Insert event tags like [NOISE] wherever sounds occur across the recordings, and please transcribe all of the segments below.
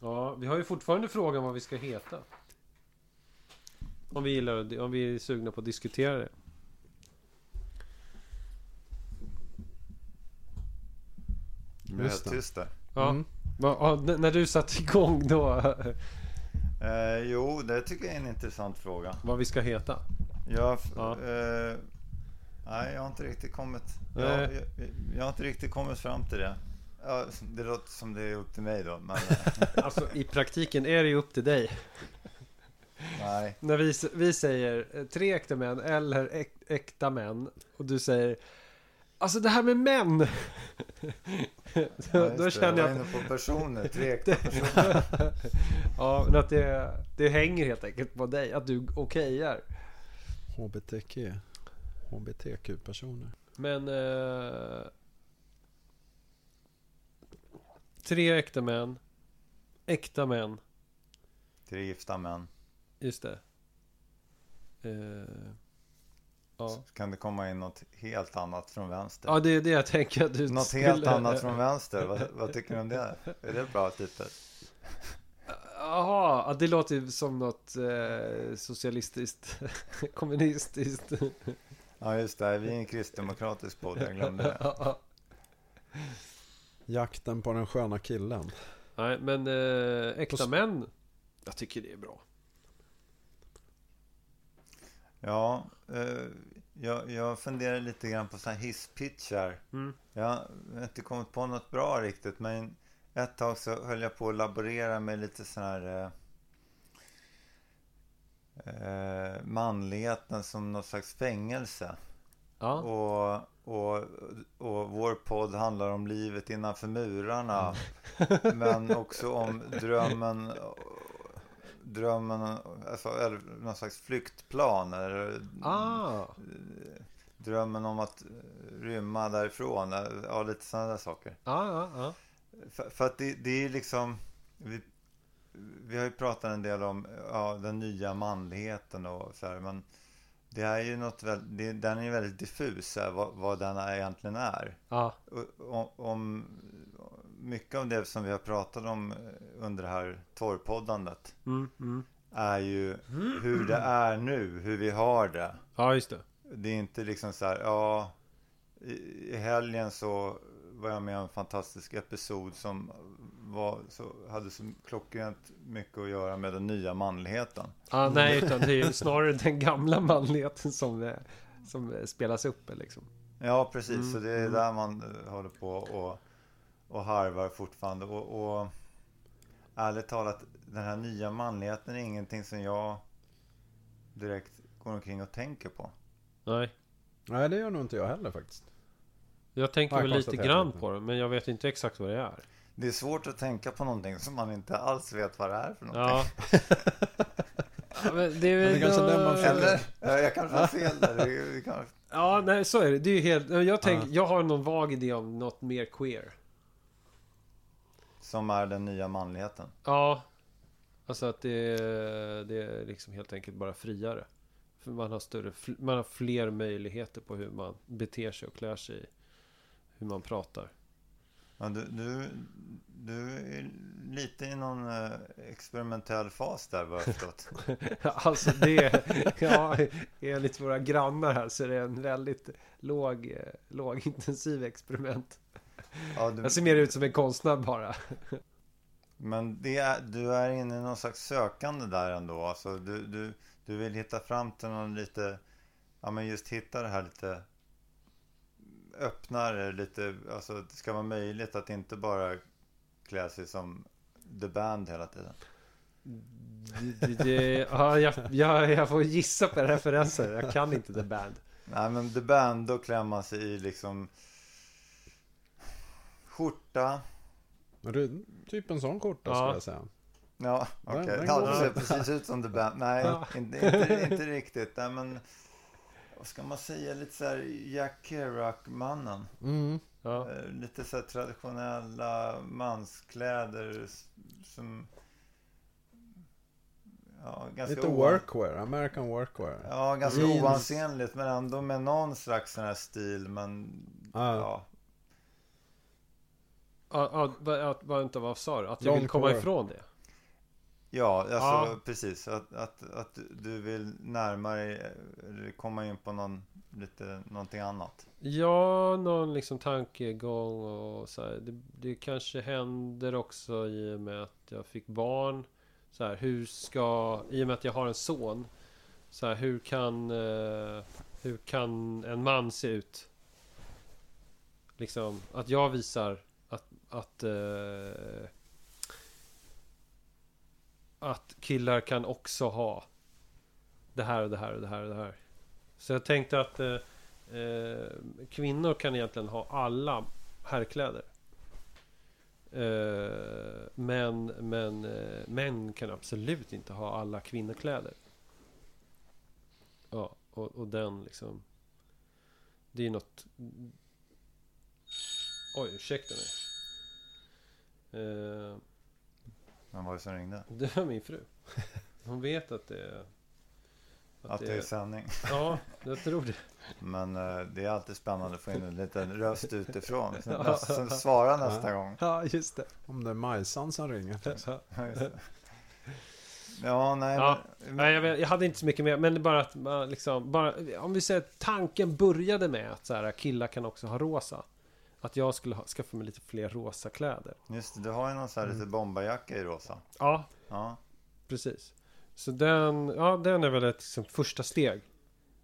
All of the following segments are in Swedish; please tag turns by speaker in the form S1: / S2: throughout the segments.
S1: Ja, vi har ju fortfarande frågan vad vi ska heta. Om vi gillar att- om vi är sugna på att diskutera det.
S2: Nu är
S3: Just
S2: jag
S3: det.
S2: tyst där.
S1: Ja.
S3: Mm.
S1: Va, ja, n- när du satte igång då, [LAUGHS]
S2: Eh, jo, det tycker jag är en intressant fråga.
S1: vad vi ska heta.
S2: Jag, f-
S1: Ja.
S2: eh, nej, jag har inte riktigt kommit.
S1: Nej.
S2: Jag, jag, jag har inte riktigt kommit fram till det. Ja, det låter som det är upp till mig då, men eh,
S1: [LAUGHS] Alltså i praktiken är det ju upp till dig.
S2: nej.
S1: När vi, s- vi säger eh, tre äkta män eller äk, äkta män och du säger Alltså det här med män! [LAUGHS]
S2: Ja,
S1: [LAUGHS] då,
S2: just
S1: då
S2: det,
S1: känner jag
S2: var
S1: att,
S2: inne på personer,
S1: [LAUGHS]
S2: tre äkta personer.
S1: ja, men att det, det hänger helt enkelt på dig, att du okejar.
S3: HBTQ. HBTQ-personer.
S1: Men... Eh, tre äkta män. Äkta män.
S2: Tre gifta män.
S1: Just det. Eh, ja.
S2: Så kan det komma in något helt annat från vänster?
S1: ja, det är det jag tänker att du
S2: något
S1: skulle-
S2: helt annat från vänster, vad, vad tycker du om det? Är det bra titel?
S1: [LAUGHS] Jaha, ja, det låter ju som något eh, socialistiskt, [LAUGHS] kommunistiskt.
S2: Ja, just det, vi är en kristdemokratisk podd, jag glömde det.
S3: Jakten på den sköna killen.
S1: Nej, men eh,
S3: På
S1: äkta
S3: s-
S1: män. Jag tycker det är bra.
S2: Ja, eh, jag, jag funderar lite grann på så här hisspitchar.
S1: Mm.
S2: Jag har inte kommit på något bra riktigt, men ett tag så höll jag på att laborera med lite sån här eh, eh, manligheten som något slags fängelse.
S1: Ja,
S2: Och, och, och vår podd handlar om livet innanför murarna. [LAUGHS] Men också om drömmen. Drömmen, alltså, eller någon slags flyktplan. Eller
S1: ah,
S2: drömmen om att eh, rymma därifrån. eh, Ja, lite sådana där saker.
S1: ah, ah, ah.
S2: För, för att det, det är liksom... Vi, vi har ju pratat en del om ja, den nya manligheten och så här, men det är ju något väldigt, det, den är ju väldigt diffus, så här, vad, vad den är- egentligen är.
S1: ah.
S2: Och- och- Om, mycket av det som vi har pratat om eh, under det här torrpoddandet
S1: Mm, mm.
S2: är ju hur det är nu, hur vi har det.
S1: Ja, just det.
S2: Det är inte liksom så här, ja, i i helgen så var jag med om en fantastisk episod som var, så, hade så klockrent mycket att göra med den nya manligheten.
S1: Ah, nej, utan det är ju snarare den gamla manligheten som, eh, som eh, spelas upp. eh, Liksom.
S2: Ja, precis, så det är där man eh, håller på och, och harvar fortfarande. Och, och ärligt talat, den här nya manligheten är ingenting som jag direkt går omkring och tänker på.
S1: Nej,
S3: Nej, det gör nog inte jag heller faktiskt.
S1: jag tänker
S3: Ja,
S1: väl lite
S3: konstaterar
S1: grann
S3: lite.
S1: på det, men jag vet inte exakt vad det är.
S2: Det är svårt att tänka på någonting som man inte alls vet vad det är för någonting.
S1: Ja. ja men det är väl
S3: Men det kanske
S1: då-
S3: den man får-
S2: Eller? Ja, jag kanske har fel där. Det är- det kanske-
S1: Ja, nej, så är det. Det är ju helt... Jag, tänk, jag har någon vag idé om något mer queer.
S2: Som är den nya manligheten.
S1: Ja. Alltså att det, det är liksom helt enkelt bara friare. För man har, större, fl- man har fler möjligheter på hur man beter sig och klär sig. Hur man pratar.
S2: Ja, du, du, du är lite i någon eh, experimentell fas där vad jag har förstått.
S1: [LAUGHS] Alltså det, [LAUGHS] ja, enligt våra grannar här så är det en väldigt låg, eh, lågintensiv experiment.
S2: Ja, du,
S1: Jag ser mer ut som en konstnär bara.
S2: men det är, du är inne i någon slags sökande där ändå. Alltså, du, du, du vill hitta fram till någon lite, ja men just hitta det här lite öppnare, lite, alltså det ska vara möjligt att inte bara klä sig som the band hela tiden.
S1: Det, det, det, ja, jag, jag, jag får gissa på referenser. Jag kan inte The Band.
S2: Nej men The Band, då klär man sig i liksom skjorta.
S3: Men du, Typ en sån skjorta
S1: Ja.
S3: skulle jag säga.
S2: Ja, okej.
S3: den
S2: Ja, det
S3: går bra.
S2: ser precis ut som The Band. Nej,
S1: Ja.
S2: inte, inte, inte riktigt. Nej, men vad ska man säga? Lite så här Jack Kerouac-mannen.
S3: Mm.
S1: Ja.
S2: Eh, Lite så här traditionella manskläder s- som... Ja, ganska
S3: Lite
S2: oan-
S3: workwear, American workwear.
S2: Ja, ganska
S3: Jeans.
S2: oansenligt men ändå med någon slags sån här stil. Men
S3: Ja.
S2: ja.
S1: Ja, ja, att, vad inte vad sa du? Att jag
S3: Långt
S1: vill komma
S3: hår.
S1: ifrån det?
S2: Ja, alltså
S1: Ja.
S2: precis. Att, att, att du vill närmare eh, komma in på någon, lite, någonting annat.
S1: Ja, någon liksom tankegång och så här. Det, det kanske händer också i och med att jag fick barn. Så här, hur ska... I och med att jag har en son. Så här, hur kan... Eh, hur kan en man se ut? Liksom, att jag visar att... Att, eh, att killar kan också ha det här och det här och det här och det här. Så jag tänkte att... Eh, Eh, kvinnor kan egentligen ha alla herrkläder. Eh, men men eh, män kan absolut inte ha alla kvinnokläder. Ja, och, och den liksom... Det är ju något... Oj, ursäkta mig. Eh,
S2: Men vad som ringde?
S1: det var min fru. [LAUGHS] Hon vet att det är...
S2: Att, det är sändning.
S1: Ja, jag tror det.
S2: Men eh, det är alltid spännande att få in en liten röst utifrån. Som, som svarar nästa
S3: [LAUGHS]
S2: gång.
S1: Ja, just det.
S3: Om det är Majsan som ringer.
S2: Ja, just det. Ja, nej.
S1: Ja,
S2: men-
S1: Nej, jag, vet, jag hade inte så mycket mer, men bara att man liksom, bara, om vi säger att tanken började med att så här, killar kan också ha rosa. Att jag skulle ha, skaffa mig lite fler rosa kläder.
S2: Just det, du har ju någon sån här lite bomberjacka i rosa.
S1: Ja,
S2: Ja,
S1: precis. Så den, ja, den är väl ett liksom, första steg.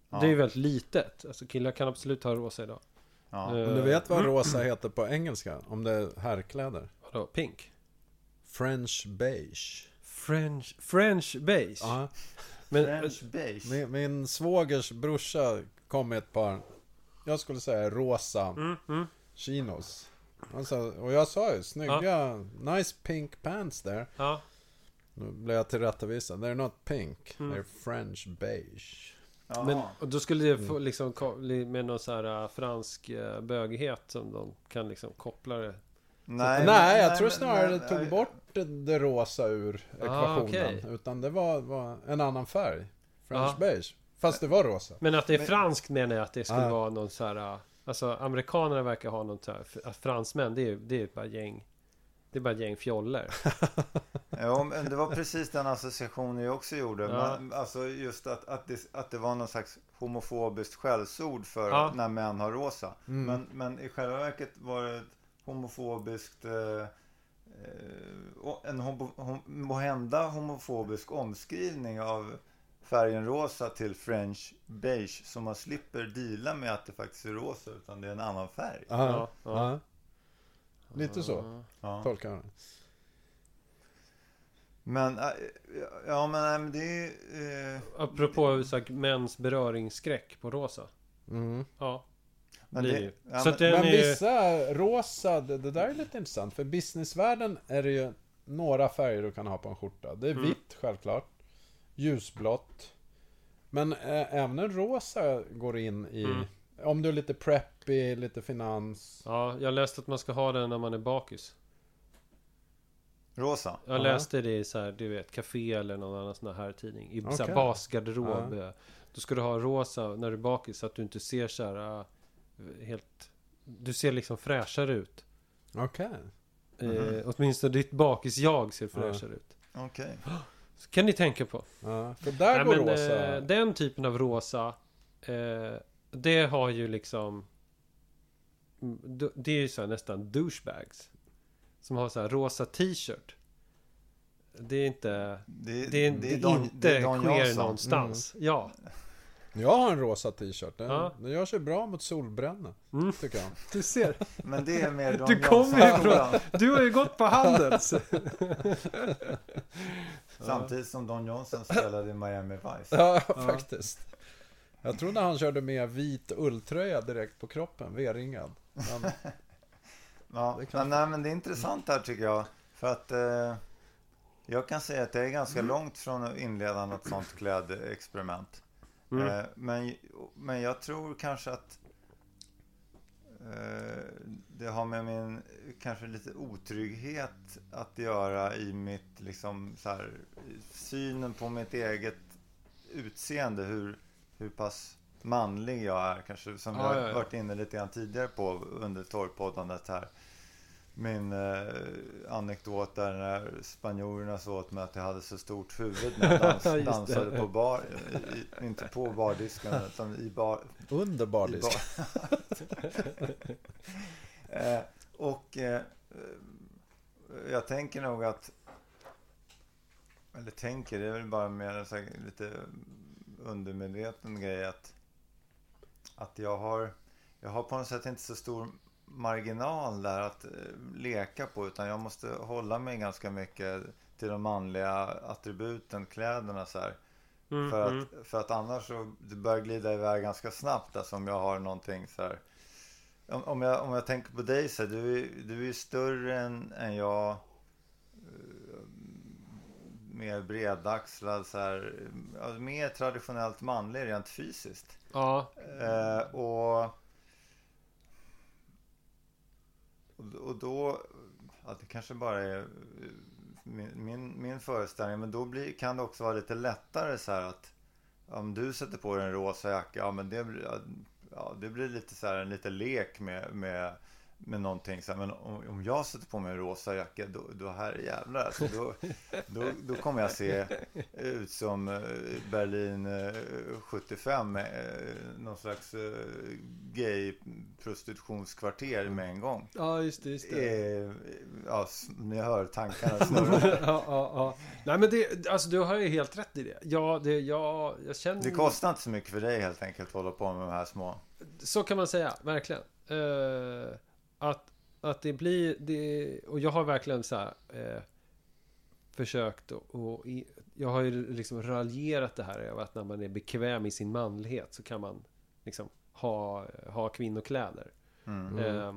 S2: Ja.
S1: Det är ju väldigt litet. Alltså killar kan absolut ha rosa idag.
S2: ja.
S1: Eh,
S3: Om du vet vad rosa heter på engelska? Om det är herrkläder?
S1: Vadå? Pink?
S3: French beige.
S1: French, French beige?
S3: Ja,
S1: men,
S2: French beige.
S3: min, min svågers brorsa kom med ett par, jag skulle säga rosa
S1: Mm,
S3: chinos. Han sa- och jag sa ju, snygga, nice pink pants där.
S1: ja,
S3: Nu blev jag tillrättavisad. They're not pink,
S1: Mm.
S3: they're French beige.
S2: Jaha.
S1: men och då skulle det få, liksom, ko- li- med någon så här eh, fransk eh, bögighet som de kan liksom koppla det
S2: nej,
S3: Nej, jag
S2: men-
S3: tror
S2: men-
S3: snarare det
S2: men-
S3: tog bort det, det rosa ur ekvationen.
S1: Ah, okej. Ah.
S3: Utan det var, var en annan färg. French
S1: Ja.
S3: beige. Fast det var rosa.
S1: Men att det är franskt menar jag att det skulle
S3: Ah.
S1: vara någon så här... äh, Alltså amerikanerna verkar ha någon så här... f- Att fransmän, det är ju det är ju bara gäng... Det är bara gäng fjoller.
S2: Ja, men det var precis den associationen jag också gjorde.
S1: Ja.
S2: Men, alltså just att, att, det, att det var någon slags homofobiskt skällsord för
S1: Ja. Mm.
S2: när män har rosa. Men, men i själva verket var det ett homofobiskt... Eh, eh, o- en homo, hom, måhända homofobisk omskrivning av färgen rosa till French beige. Så man slipper deala med att det faktiskt är rosa utan det är en annan färg.
S3: Ja,
S1: Ja, ja. Ah.
S3: ja. Lite så
S2: Ja.
S3: tolkar jag det.
S2: Men, eh, ja, men, nej, men det är ju, eh,
S1: Apropå så här, mäns beröringsskräck på rosa.
S3: Mm.
S1: Ja,
S2: men
S1: blir
S2: det-
S1: det ju.
S2: ja,
S1: Så
S2: men-
S1: att den
S3: Men
S1: är ju...
S3: vissa rosa, det, det där är lite intressant. För i businessvärlden är det ju några färger du kan ha på en skjorta. Det är
S1: Mm.
S3: vitt självklart. Ljusblått. Men eh, även en rosa går in i...
S1: Mm.
S3: Om du är lite preppy, lite finans.
S1: Ja, jag läste att man ska ha den när man är bakis.
S2: Rosa?
S1: Jag
S3: Ja.
S1: läste det i så här, du vet, café eller någon annan sån här tidning. I så här
S3: Okej.
S1: basgarderob. eh, Då ska du ha rosa när du är bakis så att du inte ser så här... äh, Helt... Du ser liksom fräschare ut.
S3: Okej.
S1: Eh, åtminstone ditt bakis-jag ser fräschare ut.
S2: Okej.
S1: Så kan ni tänka på.
S3: Ja, för
S1: Nej,
S3: där går
S1: men,
S3: rosa.
S1: eh, den typen av rosa, eh, det har ju liksom... Mm, d- Det är ju så här nästan douchebags. Som har så här rosa t-shirt. Det är inte... Det är, det är
S2: Don-
S1: inte
S2: är Don
S1: queer
S2: Jansson.
S1: någonstans. Ja.
S3: Jag har en rosa t-shirt. Den,
S1: Ja.
S3: den gör sig bra mot solbränna.
S1: Mm. [LAUGHS]
S3: Tycker jag.
S1: Du ser.
S2: Men det är mer
S1: [LAUGHS]
S2: Don
S1: Du kommer ju
S2: Jansson-skolan.
S1: Du har ju gått på Handels.
S2: Samtidigt som Don Johnson spelade i Miami Vice.
S3: Ja, faktiskt. Jag trodde han körde med vit ulltröja direkt på kroppen, V-ringad.
S1: [LAUGHS]
S3: Men,
S2: Ja,
S3: Det kan-
S2: men, nej, men det är intressant här tycker jag. För att eh, jag kan säga att jag är ganska
S1: Mm.
S2: långt från att inleda något sånt klädexperiment.
S1: Mm.
S2: Eh, men, men jag tror kanske att eh, det har med min kanske lite otrygghet att göra i mitt liksom så här i synen på mitt eget utseende. Hur, hur pass manlig jag är kanske. Som
S1: Ja,
S2: jag
S1: ja, ja.
S2: varit inne lite grann tidigare på under torrpoddandet här. min eh, anekdot där när spanjorerna sa åt mig att jag hade så stort huvud när
S1: [LAUGHS]
S2: jag dans,
S1: Just det.
S2: dansade på bar. I, inte på bardisken utan i bar.
S3: Under
S2: I
S3: bardisk.
S2: bar. [LAUGHS] eh, och eh, eh, jag tänker nog att eller tänker, det är väl bara mer en sån här lite undermedveten grej att att jag har jag har på något sätt inte så stor marginal där att eh, leka på utan jag måste hålla mig ganska mycket till de manliga attributen, kläderna så här.
S1: Mm,
S2: För
S1: mm.
S2: att, för att annars så det börjar glida iväg ganska snabbt alltså, om jag har någonting så här. Om, om, jag, om jag tänker på dig så här, du, är- du är ju större än, än jag. eh, Mer bredaxlad så här. ja, Mer traditionellt manlig rent fysiskt.
S1: Ja,
S2: Eh, och, och då, ja, det kanske bara är eh, min, min, min föreställning, men då blir, kan det också vara lite lättare så här att om du sätter på dig en rosa jacka, ja men det, blir- ja, ja, det blir lite så här en liten lek med, med med någonting så här, men om, om jag sätter på mig en rosa jacka då, då här jävlar alltså, då, då, då kommer jag se ut som eh, Berlin eh, 75 eh, någon slags eh, gay prostitutionskvarter med en gång.
S1: ja just det. Just det.
S2: Eh, ja, s- ni hör tankarna
S1: [LAUGHS]
S2: snurra.
S1: ja, ja, ja. Nej men det, alltså du har ju helt rätt i det. Ja, det, jag, jag känner...
S2: Det kostar inte så mycket för dig helt enkelt att hålla på med de här små.
S1: Så kan man säga, verkligen. Eh, att, att det blir... Det, och jag har verkligen så här... Eh, försökt och, och i, Jag har ju liksom raljerat det här över att när man är bekväm i sin manlighet så kan man liksom ha, ha kvinnokläder.
S2: Mm.
S3: Mm.
S1: Eh,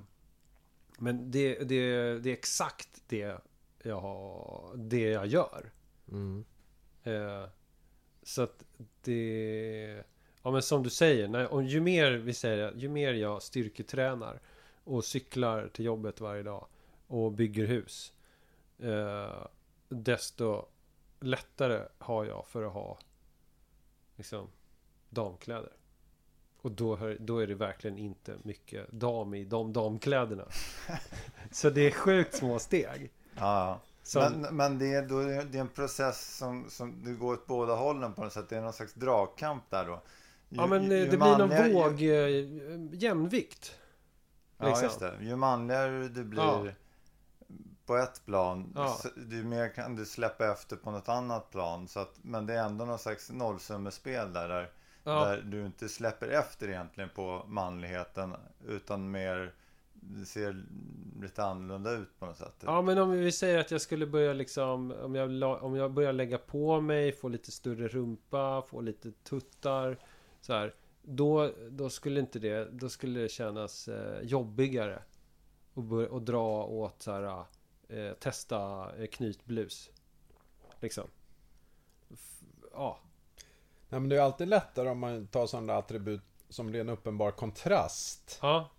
S1: men det, det, det är exakt det jag, har, det jag gör.
S3: Mm.
S1: Eh, så att det... Ja men som du säger, när, om, ju mer vi säger, ju mer jag styrketränar och cyklar till jobbet varje dag och bygger hus. Eh, desto lättare har jag för att ha liksom damkläder. Och då, hör, då är det verkligen inte mycket dam i de damkläderna. så det är sjukt små steg.
S2: Ja,
S1: Som,
S2: ja. Men, men det, är, då, är- det är en process som, som det går åt båda hållen på något sätt. Det är någon slags dragkamp där då. Ju-
S1: ja men eh,
S2: ju- ju
S1: det blir någon
S2: manligare- ju-
S1: våg, eh, jämnvikt.
S2: Ja,
S1: liksom.
S2: just det. Ju manligare du blir
S1: Ja.
S2: på ett plan,
S1: Ja.
S2: så- ju mer kan du släppa efter på något annat plan. Så att, men det är ändå någon slags nollsummespel där, där,
S1: Ja.
S2: där du inte släpper efter egentligen på manligheten, utan mer det ser lite annorlunda ut på något sätt.
S1: Ja men om vi säger att jag skulle börja liksom Om jag, la, om jag börjar lägga på mig Få lite större rumpa Få lite tuttar så här, då, då skulle inte det Då skulle det kännas eh, jobbigare och, bör, och dra åt så här eh, Testa eh, knytblus Liksom F- Ja
S3: Nej, men det är alltid lättare om man tar sådana attribut som blir en uppenbar kontrast.
S1: Ja.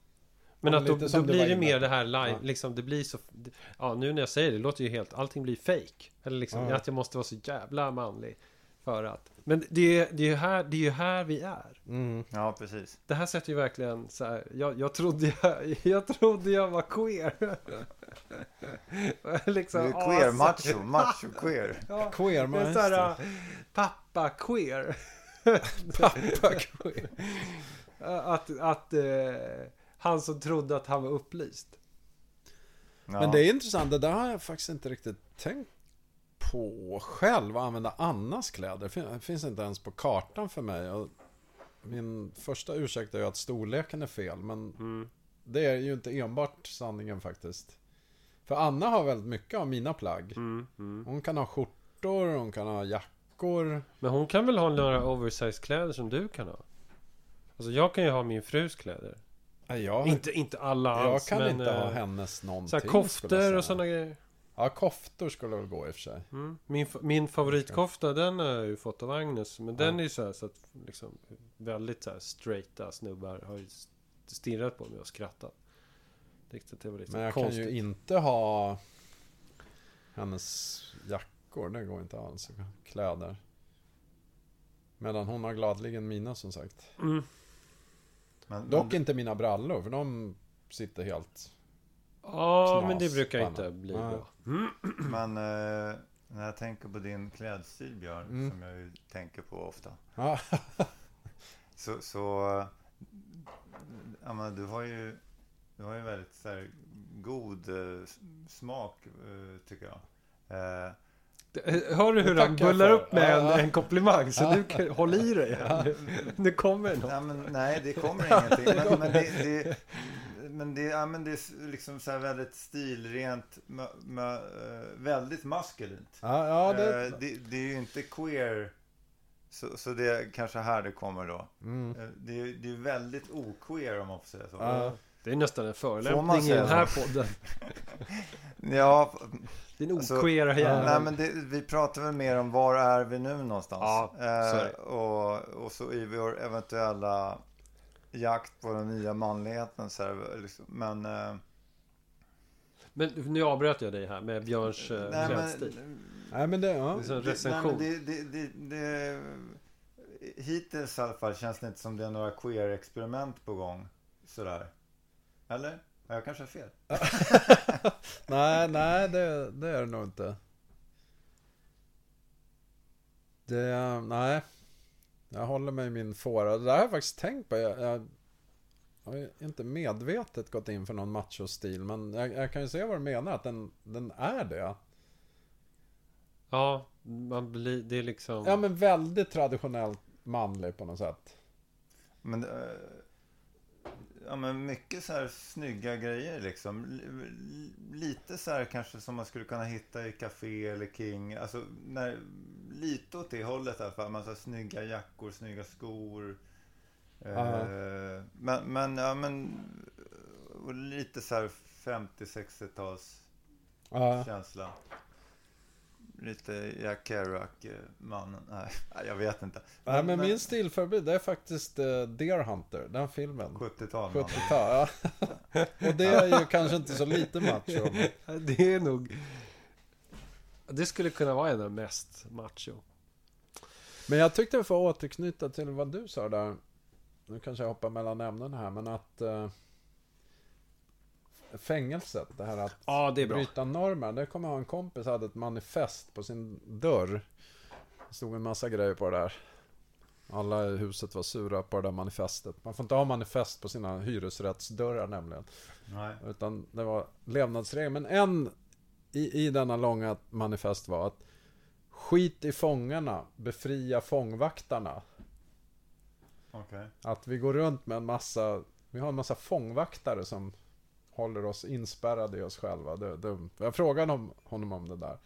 S1: Men
S3: Ja,
S1: att då,
S3: lite
S1: då
S3: som du
S1: blir
S3: var
S1: det
S3: inne
S1: mer
S3: på.
S1: det här live,
S3: Ja.
S1: liksom det blir så... Ja, nu när jag säger det, det låter ju helt... Allting blir fake. Eller liksom
S3: Ja.
S1: att jag måste vara så jävla manlig. För att... Men det, är- det, är, ju här, det är ju här vi är.
S3: Mm.
S2: Ja, precis.
S1: Det här sätter ju verkligen så här... Jag, jag, trodde, jag, [LAUGHS] jag trodde jag var queer. [LAUGHS]
S2: Du
S1: liksom,
S2: är
S1: ja,
S3: [LAUGHS]
S2: queer,
S1: så-
S2: macho, macho queer.
S1: [LAUGHS] Ja,
S3: Queer
S1: det är så här, äh, pappa queer. [LAUGHS] pappa queer. Äh, att att eh, han som trodde att han var upplyst.
S2: Ja.
S3: Men det är intressant, det där har jag faktiskt inte riktigt tänkt på själv, att använda Annas kläder. Det fin- Det finns inte ens på kartan för mig. Och min första ursäkt är ju att storleken är fel, men det är ju inte enbart sanningen faktiskt. För Anna har väldigt mycket av mina plagg.
S1: Mm.
S3: Hon kan ha skjortor, hon kan ha jackor.
S1: Men hon kan väl ha några oversized kläder som du kan ha? Alltså jag kan ju ha min frus kläder.
S3: Nej, Jag,
S1: Inte, inte alla
S3: jag
S1: alls,
S3: kan
S1: men...
S3: inte ha
S1: eh,
S3: hennes någonting.
S1: så här
S3: skulle jag
S1: koftor
S3: säga.
S1: och sådana grejer.
S3: Ja, koftor skulle väl gå i och för sig.
S1: Mm. Min, fa- min favoritkofta den har jag ju fått av Agnes. Men den är ju så här så att liksom väldigt så här straighta snubbar har ju s- stirrat på mig och skrattat. Tyckte att det var lite
S3: Men jag
S1: konstigt.
S3: kan ju inte ha hennes jackor. Det går inte alls. Kläder. Medan hon har gladligen mina som sagt.
S2: Men- men
S1: Mm.
S3: Dock inte mina brallor för de sitter helt
S1: Ja, men det
S3: Knas,
S1: brukar
S3: fan.
S1: inte bli
S3: Nej.
S1: bra.
S2: [CLEARS THROAT] Men eh, när jag tänker på din klädstil Björn,
S3: Mm.
S2: som jag ju tänker på ofta.
S3: Ja,
S2: [LAUGHS] Så, så eh, ja, men du har ju du har ju väldigt så här, god eh, s- smak eh, tycker jag. Eh,
S1: Hör du hur han
S3: tackar
S1: bullar
S3: för.
S1: upp med en,
S3: Ja.
S1: en komplimang? Så du kan, håll i dig. Nu, nu kommer någon.
S2: nej, men, nej, det [LAUGHS] kommer ingenting. Men, men det, det, men det, ja, men det är s- liksom så här väldigt stilrent, mö, mö, eh, väldigt maskulint.
S3: ja, ja det...
S2: Eh, det, det är ju inte queer. Så, så det är kanske här det kommer då.
S3: Mm.
S2: Eh, Det är, det är väldigt oqueer om man får säga så.
S3: Ja.
S1: Det är nästan en
S2: Får man
S1: förolämpning i
S2: säga
S1: den här podden.
S2: Ja, f-
S1: Din
S2: Alltså,
S1: oqueera
S2: nej
S1: jävel.
S2: men det, vi pratar väl mer om var är vi nu någonstans? Eh,
S1: Ja, så är det.
S2: och, och så i vår eventuella jakt på den nya manligheten så är det, liksom, Men, eh,
S1: Men nu avbröt jag dig här med Björns eh,
S2: nej,
S1: klädstil.
S2: men
S3: Nej, men det... Ja.
S1: Det är så en
S2: Det-
S1: recension.
S2: Nej, men det, det, det, det, hittills i alla fall känns det inte som det är några queer-experiment på gång. Sådär. Eller? Ja, jag kanske har fel.
S3: Nej, nej, det, det är det nog inte. Det... Nej. Jag håller mig i min fåra. Det där har jag faktiskt tänkt på. Jag, jag har ju inte medvetet gått in för någon machostil, men jag, jag kan ju se vad du menar, att den, den är det.
S1: Ja, man blir, det är liksom...
S3: Ja, men väldigt traditionellt manlig på något sätt.
S2: Men, eh, ja, men mycket så här snygga grejer liksom. L- l- Lite så här kanske som man skulle kunna hitta i Café eller King. Alltså, när, lite åt det hållet i alla fall. Man så här, snygga jackor, snygga skor. Eh,
S3: Ja.
S2: men, men, ja, men och lite så här 50-60-tals
S3: Ja.
S2: känsla. Lite Jack Kerouac-mannen. Nej, [LAUGHS] jag vet inte.
S3: Nej, men min stilförebild det är faktiskt eh, Deer Hunter, den filmen.
S2: 70-tal. mannen.
S3: 70-tal, ja. [LAUGHS] Och det är ju kanske inte så lite macho. men-
S1: Det är nog... Det skulle kunna vara en av de mest macho.
S3: Men jag tyckte för att återknyta till vad du sa där. Nu kanske jag hoppar mellan ämnen här, men att eh, fängelset, det här att
S1: Ja, det är bra.
S3: bryta normer. Det kommer jag ha en kompis hade ett manifest på sin dörr. Det stod en massa grejer på det där. Alla i huset var sura på det där manifestet. Man får inte ha manifest på sina hyresrättsdörrar nämligen.
S2: Nej.
S3: Utan det var levnadsregler. Men en i, i denna långa manifest var att skit i fångarna, befria fångvaktarna.
S2: Okej.
S3: Att vi går runt med en massa, vi har en massa fångvaktare som håller oss inspärrade i oss själva. Det, det, jag frågade om, honom om det där.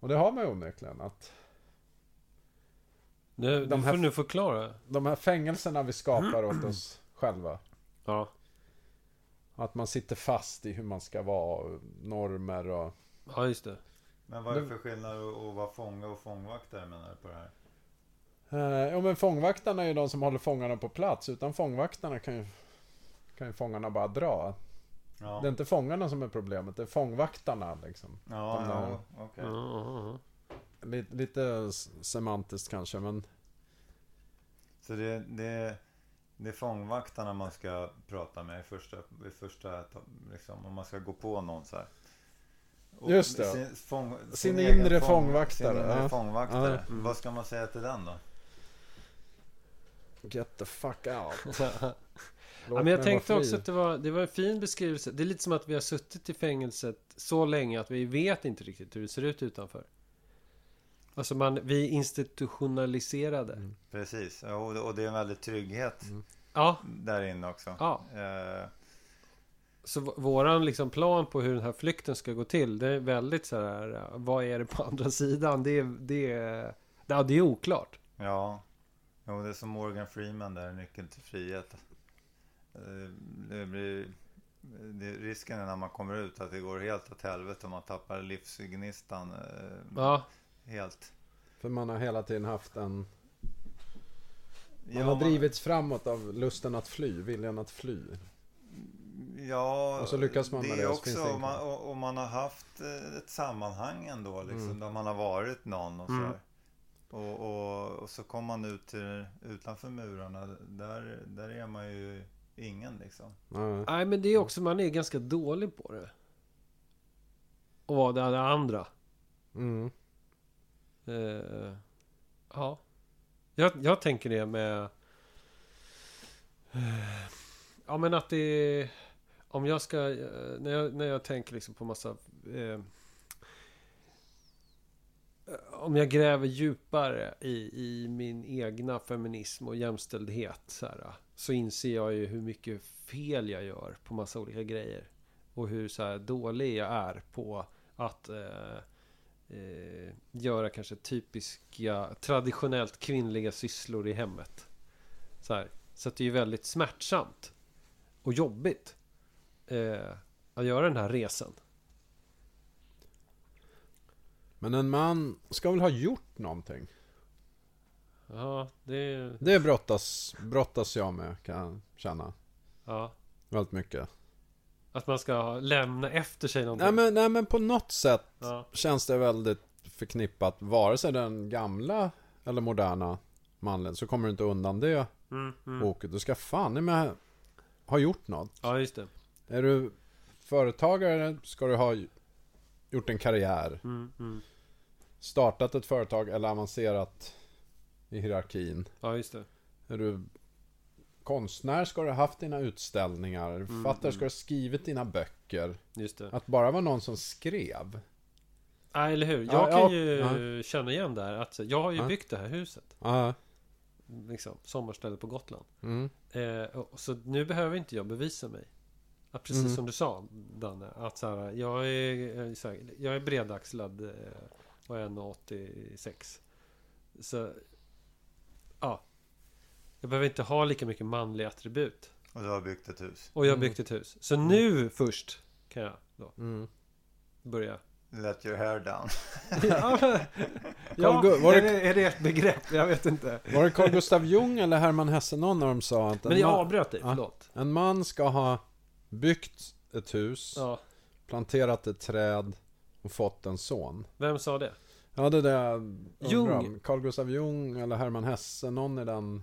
S3: Och det har man ju onekligen. Att
S1: Nu,
S3: De
S1: du
S3: här-
S1: får nu förklara.
S3: de här fängelserna vi skapar åt oss själva.
S1: Ja.
S3: Att man sitter fast i hur man ska vara, och normer och...
S1: ja, just det.
S2: Men vad är det
S3: Nu-
S2: för skillnad att att vara fånge och fångvaktare menar du på det här?
S3: Eh, ja men fångvaktarna är ju de som håller fångarna på plats. Utan fångvaktarna kan ju, kan ju fångarna bara dra.
S2: Ja,
S3: Det är inte fångarna som är problemet, det är fångvaktarna liksom.
S2: ja,
S3: den
S2: ja
S3: där-
S2: okej.
S1: Ja, ja, [LAUGHS] ja.
S3: Lite, lite s- semantiskt kanske men...
S2: Så det, det, det är fångvaktarna man ska prata med i första, i första ta- liksom, om man ska gå på någon så här. Och
S3: Just det.
S2: Sin, fång, sin,
S3: Sin
S2: egen
S3: inre
S2: fång-
S3: fångvaktare,
S2: Sin inre
S3: ja.
S2: fångvaktare.
S1: Ja.
S2: Vad ska man säga till den då?
S3: Get the fuck out. Låt
S1: Ja, men
S3: mig
S1: jag
S3: vara
S1: tänkte
S3: fri.
S1: också att det var, det var en fin beskrivelse. Det är lite som att vi har suttit i fängelset så länge att vi vet inte riktigt hur det ser ut utanför. Alltså man, vi är institutionaliserade.
S3: Mm.
S2: Precis, Ja, och, det- och det är en väldig trygghet
S1: Ja,
S2: där inne också.
S1: ja.
S2: Eh,
S1: Så v- våran liksom plan på hur den här flykten ska gå till. Det är väldigt så här. eh, Vad är det på [LAUGHS] andra sidan? Det är, det är, ja, det är oklart.
S2: Ja, jo, det är som Morgan Freeman där, Nyckeln till frihet. Eh, Det blir, det, risken är när man kommer ut att det går helt åt helvete och man tappar livsgnistan eh,
S1: Ja,
S2: helt.
S3: För man har hela tiden haft en... Man
S2: Ja,
S3: har drivits framåt av lusten att fly, viljan att fly.
S2: Ja,
S3: Och så lyckas man
S2: det
S3: med
S2: är
S3: det, så finns
S2: också
S3: det
S2: om man, och, och man har haft eh, ett sammanhang ändå,
S3: Mm.
S2: liksom, där man har varit någon och så
S1: Mm.
S2: här. Och, och, och så kommer man ut till utanför murarna, där, där är man ju ingen liksom.
S3: Nej.
S1: Nej, men det är också, man är ganska dålig på det. Och vad det är det andra.
S3: Mm.
S1: Eh, ja. Jag, jag tänker det med... eh, ja, men att det är... Om jag ska... eh, när, jag, när jag tänker liksom på massa... eh, om jag gräver djupare i, i min egna feminism och jämställdhet så, här, så inser jag ju hur mycket fel jag gör på massa olika grejer. Och hur så här, dålig jag är på att eh, eh, göra kanske typiska traditionellt kvinnliga sysslor i hemmet. Så, här. så att det är ju väldigt smärtsamt och jobbigt eh, att göra den här resan.
S3: Men en man ska väl ha gjort någonting?
S1: Ja, det...
S3: Det brottas, brottas jag med kan jag känna.
S1: Ja.
S3: Väldigt mycket.
S1: Att man ska lämna efter sig någonting.
S3: Nej men, nej men på något sätt
S1: Ja.
S3: känns det väldigt förknippat. Vare sig den gamla eller moderna mannen så kommer du inte undan det
S1: Mm, mm.
S3: åket. Du ska fan i mig ha gjort något.
S1: Ja, just det.
S3: Är du företagare ska du ha gjort en karriär.
S1: Mm, mm.
S3: Startat ett företag eller avancerat i hierarkin.
S1: Ja, just det.
S3: Är du konstnär ska du ha haft dina utställningar.
S1: Mm,
S3: Är du Författare ska du ha skrivit dina böcker.
S1: Just det.
S3: Att bara vara någon som skrev.
S1: Ja, eller hur. Jag
S3: Ja,
S1: kan
S3: ja,
S1: ju känna igen där att jag har ju
S3: Ja.
S1: byggt det här huset.
S3: Ja.
S1: Liksom, sommarställe på Gotland.
S3: Mm.
S1: Eh, och, så nu behöver inte jag bevisa mig. Att precis
S3: Mm.
S1: som du sa Danne. Att så här, jag, är, eh, så här, jag är bredaxlad eh, och 1,86. Så ja. Jag behöver inte ha lika mycket manliga attribut.
S2: Och du har byggt ett hus.
S1: Och jag har
S3: Mm.
S1: byggt ett hus. Så nu först kan jag då
S3: Mm. [LAUGHS]
S1: börja.
S2: Let your hair down.
S1: ja, men,
S3: Carl
S1: ja,
S3: Gu- var
S1: är,
S3: det-
S1: det, är det ett begrepp? Jag vet inte.
S3: Var det Carl Gustav Jung eller Herman Hesse någon när de sa att
S1: Men
S3: en,
S1: jag
S3: ma-
S1: avbröt dig,
S3: Ja.
S1: förlåt.
S3: en man ska ha byggt ett hus,
S1: Ja,
S3: planterat ett träd och fått en son.
S1: vem sa det?
S3: Ja, det är det jag undrar
S1: Jung.
S3: om. Carl Gustav Jung eller Herman Hesse, någon i den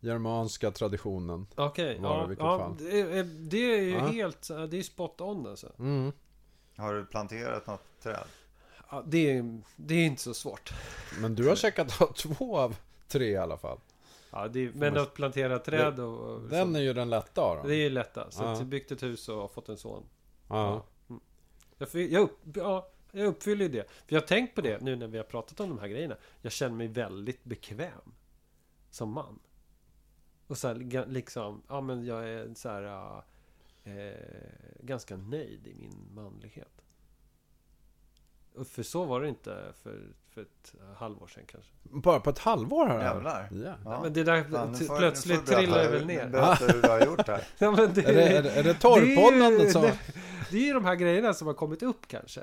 S3: germanska traditionen.
S1: Okej, ja,
S3: Var det i vilket
S1: ja,
S3: fall?
S1: det, är- eh, det är ju
S3: Ja.
S1: helt, det är spot on alltså.
S3: Mm.
S2: Har du planterat något träd?
S1: Ja, det, är, det är inte så svårt.
S3: Men du har checkat av två av tre i alla fall.
S1: Ja, det är, men
S3: man-
S1: att plantera träd och... och
S3: Den är ju den lätta av
S1: så,
S3: dem.
S1: det är ju lätta. Så
S3: Ja.
S1: att jag byggt ett hus och har fått en son.
S3: Ja.
S1: Jag, fy- jag, upp, ja, jag uppfyller ju det. För jag har tänkt på det nu när vi har pratat om de här grejerna. Jag känner mig väldigt bekväm som man. Och så här, ga- liksom, ja men jag är så här äh, eh, ganska nöjd i min manlighet. Och för så var det inte för, för ett halvår sedan kanske.
S3: Bara på ett halvår har det här.
S2: Jävlar.
S3: Ja.
S2: Ja.
S1: Men det där
S2: Fan, nu
S1: t-
S2: får-
S1: plötsligt
S2: nu får du
S1: trillar jag
S2: berätta
S1: väl
S2: hur-
S1: ner.
S2: Berätta hur du har gjort här.
S1: [LAUGHS] Ja, men det,
S3: Är det, är det, är det
S1: det är
S3: torrpodden
S1: ju-
S3: som...
S1: det- det är ju de här grejerna som har kommit upp kanske.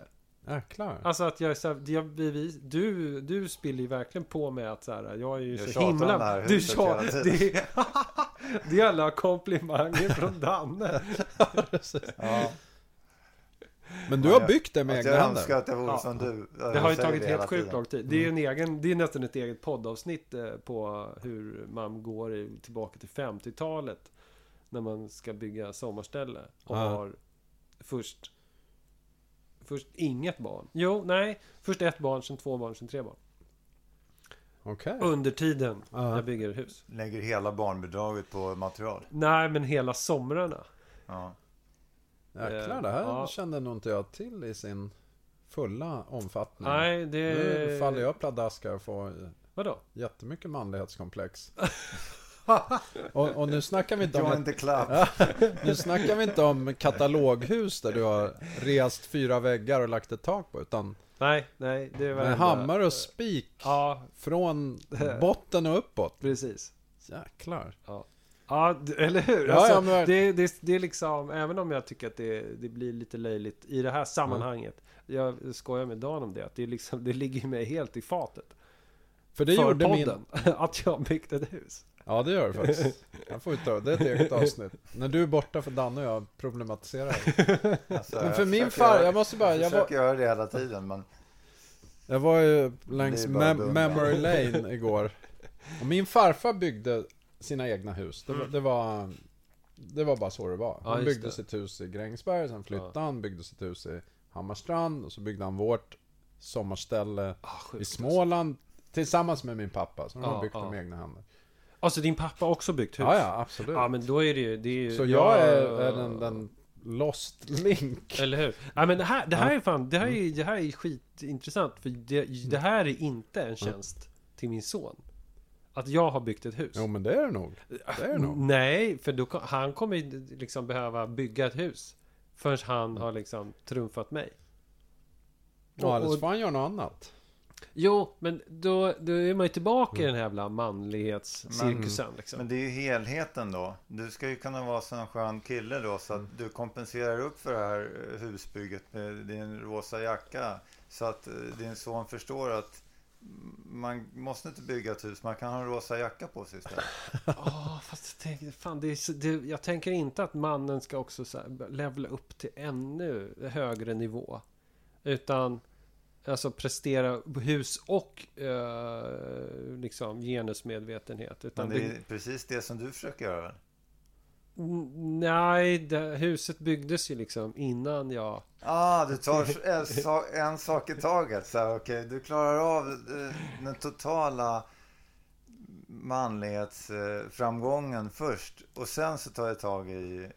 S3: Jäklar.
S1: Alltså att jag är så här, jag, vi, vi, du, du spiller ju verkligen på mig att så här, jag är ju
S2: Jag
S1: så
S2: tjatar om
S1: himla...
S2: det här
S1: du
S2: huset
S1: tjatar...
S2: hela tiden.
S1: Det, är- det är [LAUGHS] alla komplimanger från Danne.
S2: Ja.
S3: Men du
S2: Ja,
S3: har
S2: jag-
S3: byggt det med
S2: Att
S3: egna
S2: jag
S3: händer.
S2: önskar att jag vore
S1: Ja.
S2: som du.
S1: Det har ju
S2: Jag säger
S1: tagit
S2: det
S1: helt
S2: hela
S1: sjukt
S2: tiden. Mm.
S1: lång tid. Det är ju en egen, det är nästan ett eget poddavsnitt eh, på hur man går i- tillbaka till 50-talet. När man ska bygga sommarställe och
S3: Ja.
S1: har först... Först inget barn. Jo, nej. Först ett barn, sen två barn, sen tre barn.
S3: Okej.
S1: Under tiden
S3: Ja.
S1: jag bygger hus.
S2: Lägger hela barnbidraget på material.
S1: Nej, men hela somrarna.
S2: Ja.
S3: Jäklar, det här
S1: eh, Ja.
S3: kände nog inte jag till i sin fulla omfattning.
S1: Nej, eh, det...
S3: Nu faller jag pladask här och får
S1: Vadå? [LAUGHS]
S3: jättemycket manlighetskomplex. och, och nu snackar vi inte om...
S2: Join the club.
S3: Nu snackar vi inte om kataloghus där du har rest fyra väggar och lagt ett tak på, utan
S1: Nej, nej, det var...
S3: med hammare och spik
S1: Ja, [LAUGHS]
S3: från botten och uppåt.
S1: precis.
S3: Jäklar.
S1: Ja, d- eller hur?
S3: Ja,
S1: alltså,
S3: ja, men-
S1: det, det, det är liksom, även om jag tycker att det, det blir lite löjligt i det här sammanhanget.
S3: Mm.
S1: Jag skojar med Dan om det, att det, är liksom, det ligger ju mig helt i fatet.
S3: För det
S1: för
S3: gjorde min...
S1: podden, [LAUGHS] att jag har byggt ett hus.
S3: Ja, det gör det faktiskt. Jag får ju ta, det är ett eget avsnitt. När du är borta för Danne och jag problematiserar.
S2: Alltså,
S3: Men
S2: jag
S3: för min
S2: försöker
S3: far,
S2: göra-
S3: jag måste bara, jag
S2: Jag
S3: var,
S2: försöker göra det hela tiden men
S3: jag var ju
S2: Det
S3: längs
S2: är bara
S3: mem-
S2: dumt. [LAUGHS]
S3: memory lane igår. Och min farfar byggde sina egna hus. Det var, det var Det var bara så det var.
S1: Mm. Ja,
S3: Han
S1: just
S3: byggde
S1: det.
S3: sitt hus i Grängesberg, sen flyttade han, byggde sitt hus i Hammarstrand och så byggde han vårt sommarställe
S1: Ah, sjukt,
S3: i Småland tillsammans med min pappa. Så de
S1: Ja,
S3: har byggt
S1: ja.
S3: det med egna händer.
S1: Alltså. alltså din pappa har också byggt hus?
S3: Ja, ja, absolut.
S1: Ja, men då är det ju... Det är ju
S3: så jag är,
S1: Ja,
S3: är den, den lost link.
S1: Eller hur? Ja, men det här, det här är fan... Det här
S3: Mm.
S1: är, det här är skitintressant. För det, det här är inte
S3: Mm.
S1: en tjänst till min son. Att jag har byggt ett hus.
S3: Jo, men det är det nog. Det är det nog.
S1: Mm, Nej, för då, ko- han kommer ju liksom behöva bygga ett hus. Förrän
S3: Mm.
S1: han har liksom trumfat mig.
S3: Ja, eller
S1: och-
S3: så får han göra något annat.
S1: Jo, men då, då är man ju
S3: Mm.
S1: tillbaka i den här jävla manlighetscirkusen liksom.
S2: Men det är ju helheten då. Du ska ju kunna vara sån skön kille då så att du kompenserar upp för det här eh, husbygget med din rosa jacka. Så att eh, din son förstår att mm, man måste inte bygga ett hus, man kan ha en rosa jacka på sig istället.
S1: Åh, fast tänk, fan, det är, så- det, jag tänker inte att mannen ska också så här, levla upp till ännu högre nivå. Utan alltså prestera hus och eh, liksom genusmedvetenhet. Utan
S2: Men
S1: det
S2: det är precis det som du försöker göra. väl?
S1: n- nej, det, huset byggdes ju liksom innan jag...
S2: Ah, du tar s- en sa- en sak i taget. Så här, okej, du klarar av eh, den totala manlighetsframgången först och sen så tar jag tag i i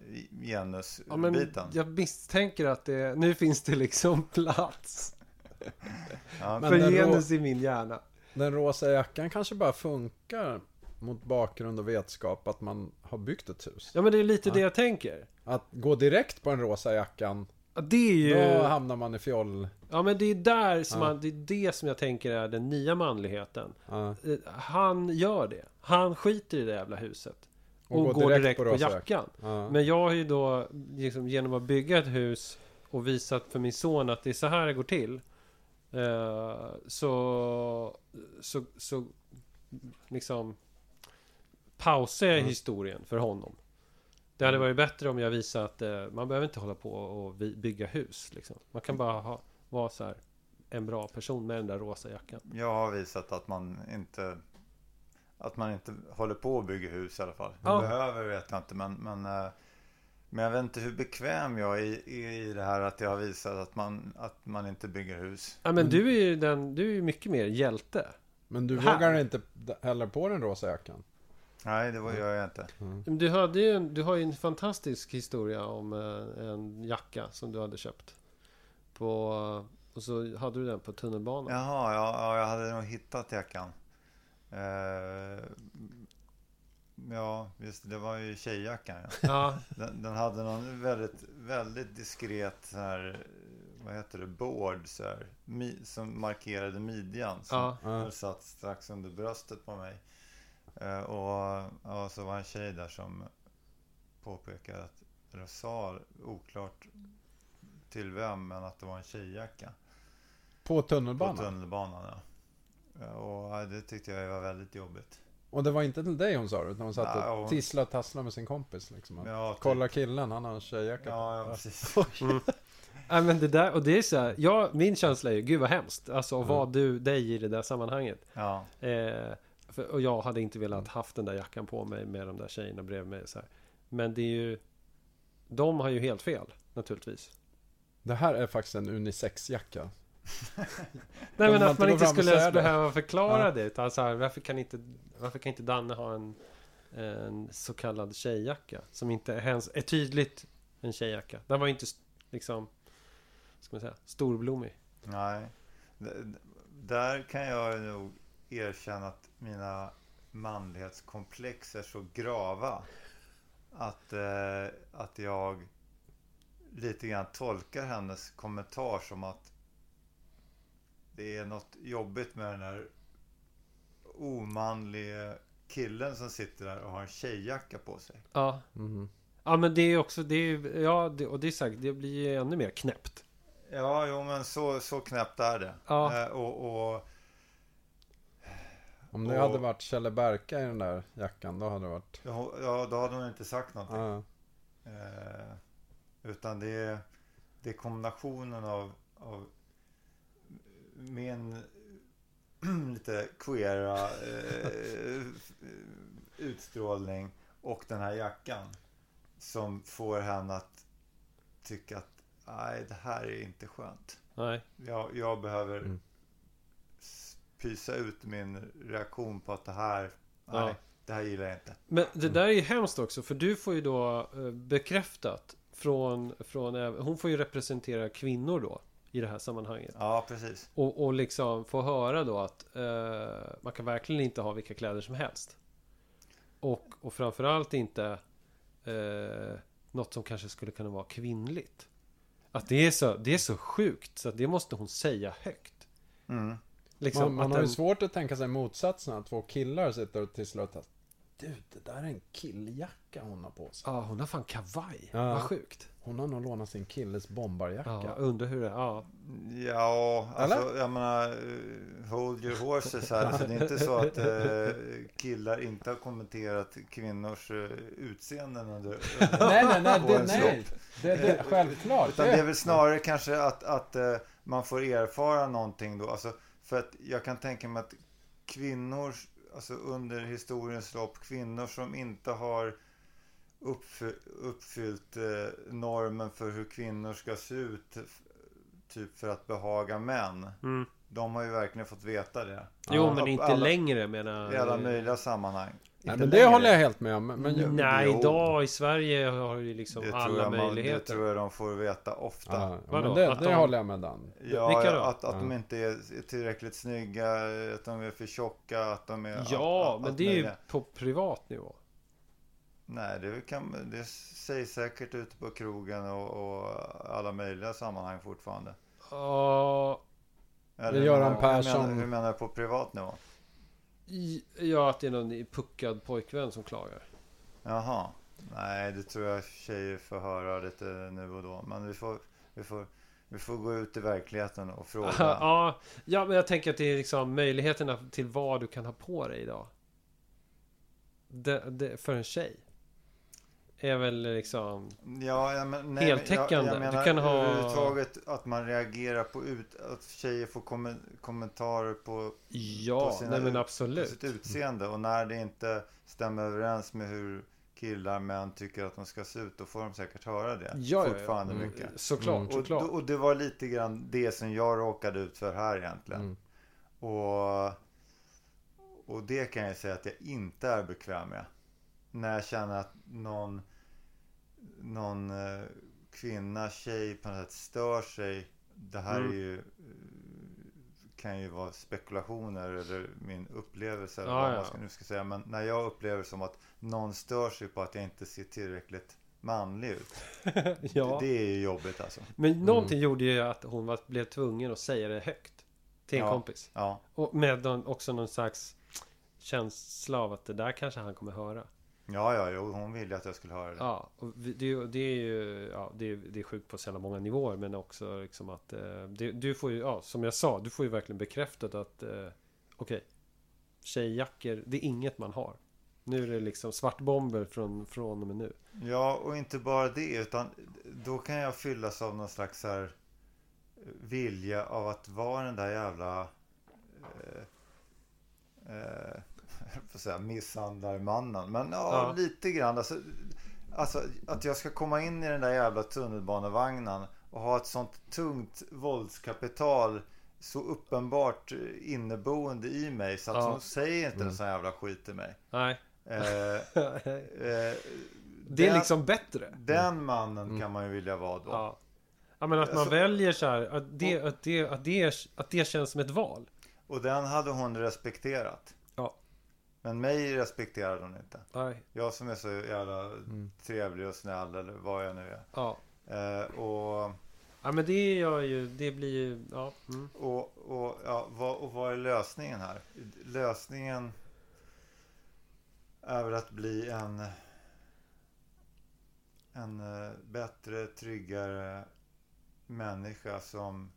S1: Ja, men
S2: genusbiten.
S1: jag misstänker att det, nu finns det liksom [LAUGHS] plats
S2: Ja,
S3: Men
S1: för
S3: den rå-
S1: genus i min hjärna.
S3: Den rosa jackan kanske bara funkar mot bakgrund och vetskap att man har byggt ett hus.
S1: Ja, men det är lite det jag tänker.
S3: Att gå direkt på den rosa jackan,
S1: Ja, Det är ju...
S3: då hamnar man i fjoll...
S1: Ja men det är där som man, det är det som jag tänker är den nya manligheten.
S3: Ja.
S1: Eh, Han gör det. Han skiter i det jävla huset. Och,
S3: Och
S1: går, direkt, på,
S3: rosa
S1: jackan.
S3: Ja.
S1: Men jag har ju då liksom, genom att bygga ett hus och visat för min son att det är så här det går till. Eh, så, så, så liksom pausar jag historien för honom. Det hade varit bättre om jag visat att eh, man behöver inte hålla på och vi- bygga hus. Liksom. Man kan bara ha, vara så här en bra person med den där rosa jackan.
S2: Jag har visat att man inte att man inte håller på och bygger hus i alla fall.
S1: Ja.
S2: Behöver vet jag inte men, men eh, men jag vet inte hur bekväm jag är i, i, i det här att jag har visat att man, att man inte bygger hus.
S1: Ja, men du är ju den, du är ju mycket mer hjälte.
S3: Men du
S1: Här.
S3: vågar inte heller på den rosa jackan.
S2: Nej, det var,
S1: Mm.
S2: gör jag inte.
S1: Men Du, hade ju en, du har ju en fantastisk historia om eh, en jacka som du hade köpt. På, och så hade du den på tunnelbanan.
S2: Jaha, ja, ja, jag hade nog hittat jackan. Eh, ja, just det, det var ju tjejjackan. Ja.
S1: Ja,
S2: Den, den hade någon väldigt, väldigt diskret så här, vad heter det, board så här, mi, som markerade midjan. Som
S1: Ja.
S2: den satt strax under bröstet på mig. Eh, och ja, så var en tjej där som påpekade att, eller sa oklart till vem, men att det var en tjejjacka.
S3: På
S2: På
S3: tunnelbanan.
S2: tunnelbanan, ja. Eh, Och ja, det tyckte jag var väldigt jobbigt.
S3: Och det var inte till dig hon sa det, utan hon satt
S2: Nej,
S3: och
S2: hon-
S3: tisslade och tasslade med sin kompis. Liksom. Att,
S2: Ja, typ.
S3: Kolla killen, han har en tjejjacka på."
S2: Ja, ja precis.
S1: Nej, men det där, och det är så här, jag, min känsla är ju, gud vad hemskt. Alltså att vara du, dig i det där sammanhanget.
S2: Ja.
S1: Eh, för, och jag hade inte velat haft den där jackan på mig med de där tjejerna bredvid mig. Så här. Men det är ju, de har ju helt fel naturligtvis.
S3: [LAUGHS] Det här är faktiskt en unisexjacka.
S1: Nej
S3: Om
S1: men
S3: man
S1: att
S3: inte
S1: man
S3: går
S1: inte
S3: fram och
S1: skulle ens
S3: säger det.
S1: behöva förklara det. Utan så här, varför, kan inte, varför kan inte Danne ha en, en så kallad tjejjacka? Som inte ens är tydligt en tjejjacka. Den var ju inte st- liksom, ska man säga, storblommig.
S2: Nej. D- d- Där kan jag nog erkänna att mina manlighetskomplex är så grava att, eh, att jag lite grann tolkar hennes kommentar som att det är något jobbigt med den här omanliga killen som sitter där och har en tjejjacka på sig.
S1: Ja.
S3: Mhm.
S1: Ja men det är också, det är, ja det, och det är sagt, det blir ju ännu mer knäppt.
S2: Ja, jo men så, så knäppt är det.
S1: Ja.
S2: Eh, och, och
S3: Om det
S2: Och-
S3: hade varit Kjelle Berka i den där jackan, då hade det varit...
S2: ja, då hade hon inte sagt någonting.
S3: Ja.
S2: Eh, utan det är, det är kombinationen av, av min [CLEARS THROAT] lite queera eh, utstrålning och den här jackan som får henne att tycka att nej, det här är inte skönt.
S1: Nej.
S2: Jag, jag behöver
S3: Mm.
S2: s- pysa ut min reaktion på att det här,
S1: Ja.
S2: nej, det här gillar jag inte.
S1: Men det där är ju hemskt också för du får ju då eh, bekräftat från, från äv- hon får ju representera kvinnor då i det här sammanhanget.
S2: Ja, precis.
S1: Och, och liksom få höra då att eh, man kan verkligen inte ha vilka kläder som helst. Och, och framförallt inte eh, något som kanske skulle kunna vara kvinnligt. Att det är så, det är så sjukt så att det måste hon säga högt.
S2: Mm.
S1: Liksom,
S3: Man, man
S1: att
S3: har ju
S1: den-
S3: svårt att tänka sig motsatsen, att två killar sitter och tisslar och tassar. Du, det där är en killjacka hon har på sig.
S1: Ja, hon har fan kavaj.
S3: Ja.
S1: Vad sjukt.
S3: Hon har nog lånat sin killes bombarjacka.
S1: Ja, undrar hur det är. Ja.
S2: Ja, alltså jag menar, eh, hold your horses här. Alltså, det är
S3: [LAUGHS]
S2: inte så att eh, killar inte har kommenterat kvinnors eh, utseenden under... under
S3: [LAUGHS] Nej, nej, nej, det,
S2: årens
S3: nej.
S2: lopp.
S3: Det, det, självklart.
S2: Utan det är
S3: Det,
S2: väl snarare kanske att, att eh, man får erfara någonting då. Alltså, för att jag kan tänka mig att kvinnor, alltså under historiens lopp, kvinnor som inte har uppfy- uppfyllt eh, normen för hur kvinnor ska se ut, f- typ för att behaga män.
S1: Mm.
S2: De har ju verkligen fått veta det.
S1: Jo,
S2: Ja.
S1: men inte
S2: alla,
S1: längre menar
S2: I alla möjliga sammanhang.
S3: nej,
S2: Inte
S3: men det
S2: längre.
S3: håller jag helt med om. Men ju,
S1: Nej,
S2: Jo.
S1: idag i Sverige har ju liksom
S2: det tror,
S1: alla
S2: jag man, det
S1: möjligheter.
S2: tror jag de får veta ofta.
S3: ja, ja,
S1: Vadå?
S3: men det,
S1: Att
S3: det
S1: de-
S3: håller jag med Dan.
S2: Ja,
S1: Vilka då?
S2: Att, att de
S3: Ja.
S2: inte är tillräckligt snygga, att de är för tjocka, att de är... att,
S1: Ja,
S2: att,
S1: men
S2: att
S1: det är ju
S2: möjliga-
S1: på privat nivå.
S2: Nej, det, kan, det sägs säkert ute på krogen och, och alla möjliga sammanhang fortfarande.
S1: Ja,
S2: Eller
S3: Göran
S2: hur menar- Hur
S3: Persson-
S2: menar, hur menar jag på privat nivå?
S1: i- ja, att det är någon puckad pojkvän som klagar.
S2: Jaha. Nej, det tror jag tjejer får höra lite nu och då. Men vi får, vi får, vi får gå ut i verkligheten
S1: [LAUGHS]
S2: och fråga.
S1: ja, ja, men jag tänker att det är liksom möjligheterna till vad du kan ha på dig idag. Det, det, för en tjej. Är väl liksom...
S2: Ja, ja, men, nej, men
S1: Heltäckande.
S2: Jag,
S1: Du
S2: jag menar
S1: kan ha-
S2: överhuvudtaget att man reagerar på ut, att tjejer får kommen, kommentarer på, På
S1: Ja,
S2: sina
S1: nej men
S2: ut- på
S1: absolut.
S2: sitt utseende. Och när det inte stämmer överens med hur killar, män tycker att de ska se ut, då får de säkert höra det.
S1: Ja, ja, ja.
S2: Fortfarande mycket.
S1: Såklart,
S3: Mm.
S2: Och, då-
S1: såklart.
S2: och det var lite grann det som jag råkade ut för här egentligen.
S3: Mm.
S2: Och, och det kan jag säga att jag inte är bekväm med. När jag känner att någon, någon eh, kvinna, tjej på något sätt stör sig. Det här
S1: Mm.
S2: är ju, eh, kan ju vara spekulationer eller min upplevelse eller
S1: Ja,
S2: vad
S1: ja.
S2: man ska, nu ska säga. Men när jag upplever som att någon stör sig på att jag inte ser tillräckligt manlig ut.
S1: [LAUGHS] ja.
S2: Det, det är ju jobbigt alltså.
S1: Men någonting gjorde ju att hon var, blev tvungen att säga det högt. Till en
S2: Ja.
S1: kompis.
S2: Ja.
S1: Och med någon, också någon slags känsla av att det där kanske han kommer höra.
S2: Ja, ja, jo, hon ville att jag skulle höra det.
S1: Ja, och vi- det, är ju- det är ju ja, det, är, det är sjukt på så jävla många nivåer. Men också liksom att eh, det, du får ju, ja, som jag sa, du får ju verkligen bekräftat att eh, okej, tjejjackor, det är inget man har. Nu är det liksom svartbomber från, från och med nu.
S2: Ja, och inte bara det, utan då kan jag fyllas av någon slags så här eh, vilja av att vara den där jävla eh, eh, [LAUGHS] jag får säga misshandlarmannen. Men ja,
S1: Ja.
S2: lite grann. Alltså, alltså att jag ska komma in i den där jävla tunnelbanevagnen och ha ett sånt tungt våldskapital så uppenbart eh, inneboende i mig så att
S1: Ja.
S2: de säger inte en sån jävla skit till mig.
S1: Nej,
S2: Eh, Eh,
S1: det är
S2: den,
S1: liksom bättre.
S2: den mannen kan man ju vilja vara då.
S1: Ja. ja men att man
S2: Alltså-
S1: väljer så här att det, att, det, att, det, är- att det känns som ett val.
S2: Och den hade hon respekterat.
S1: Ja.
S2: Men mig respekterade hon inte.
S1: Nej.
S2: Jag som är så jävla trevlig och snäll eller vad jag nu är.
S1: Ja.
S2: Eh, och,
S1: ja men det gör ju Det blir ju ja. Mm.
S2: och, och, ja, vad, och vad är lösningen här? Lösningen är väl att bli en, en eh, bättre, tryggare människa som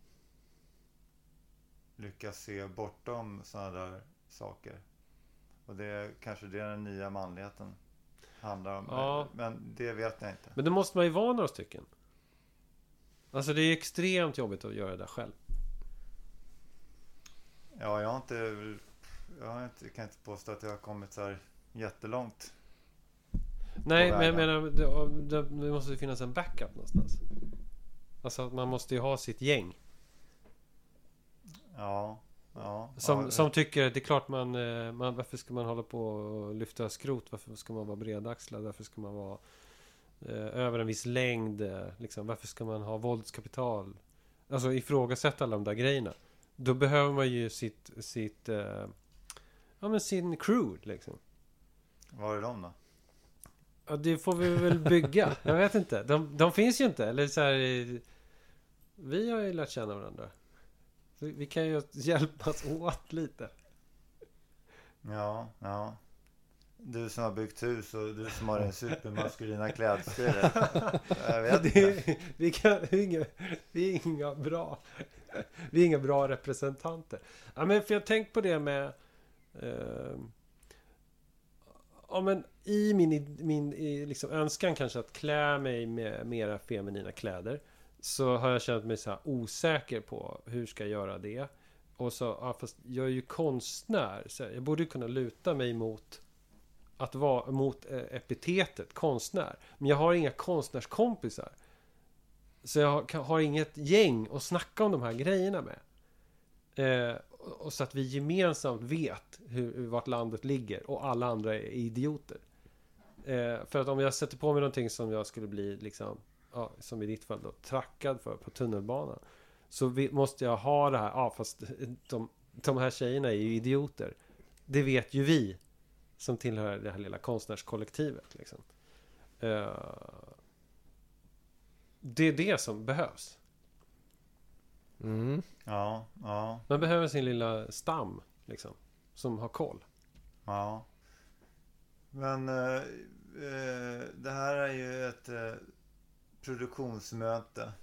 S2: lyckas se bortom sådana där saker. Och det är kanske det den nya manligheten handlar om.
S1: Ja.
S2: Men det vet jag inte.
S1: Men då måste man ju vara några stycken. Alltså det är extremt jobbigt att göra det där själv.
S2: Ja, jag har inte... Jag har inte, jag kan inte påstå att jag har kommit så här jättelångt.
S1: Nej,
S2: på
S1: men jag
S2: vägen.
S1: menar, det, det, det måste ju finnas en backup någonstans. Alltså att man måste ju ha sitt gäng.
S2: Ja. ja
S1: Som,
S2: ja,
S1: som tycker att det är klart man, eh, man... Varför ska man hålla på och lyfta skrot? Varför ska man vara bredaxlad? Varför ska man vara eh, över en viss längd? eh, Liksom? Varför ska man ha våldskapital? Alltså ifrågasätta alla de där grejerna. Då behöver man ju sitt... sitt eh, ja, men sin crew liksom.
S2: Var är de då?
S1: Ja, det får vi väl bygga. Jag vet inte. De, de finns ju inte. Eller så här, eh, vi har ju lärt känna varandra. Så vi kan ju hjälpas åt lite.
S2: Ja, ja. Du som har byggt hus och du som har den supermaskulina
S1: [LAUGHS]
S2: klädstilen. Jag vet
S1: Det
S2: inte.
S1: är, vi, kan, vi, är inga, vi är inga bra Vi är inga bra representanter. Ja, men för jag har tänkt på det med... Eh, ja, men I min, min i liksom önskan kanske att klä mig med mera feminina kläder så har jag känt mig så här osäker på hur ska jag göra det. Och så, ja, fast jag är ju konstnär. Så här, jag borde ju kunna luta mig mot att vara mot eh, epitetet konstnär. Men jag har inga konstnärskompisar. Så jag har, kan- har inget gäng att snacka om de här grejerna med. Eh, och och så att vi gemensamt vet hur, hur, vart landet ligger och alla andra är idioter. Eh, för att om jag sätter på mig någonting som jag skulle bli liksom, ja, som i ditt fall då, trackad för på tunnelbanan. Så vi, måste jag ha det här, ja fast de, de här tjejerna är ju idioter. Det vet ju vi som tillhör det här lilla konstnärskollektivet. Liksom. Eh, det är det som behövs.
S3: Mm.
S2: Ja, ja,
S1: Man behöver sin lilla stam, liksom. Som har koll.
S2: ja. Men eh, eh, det här är ju ett eh, produktionsmöte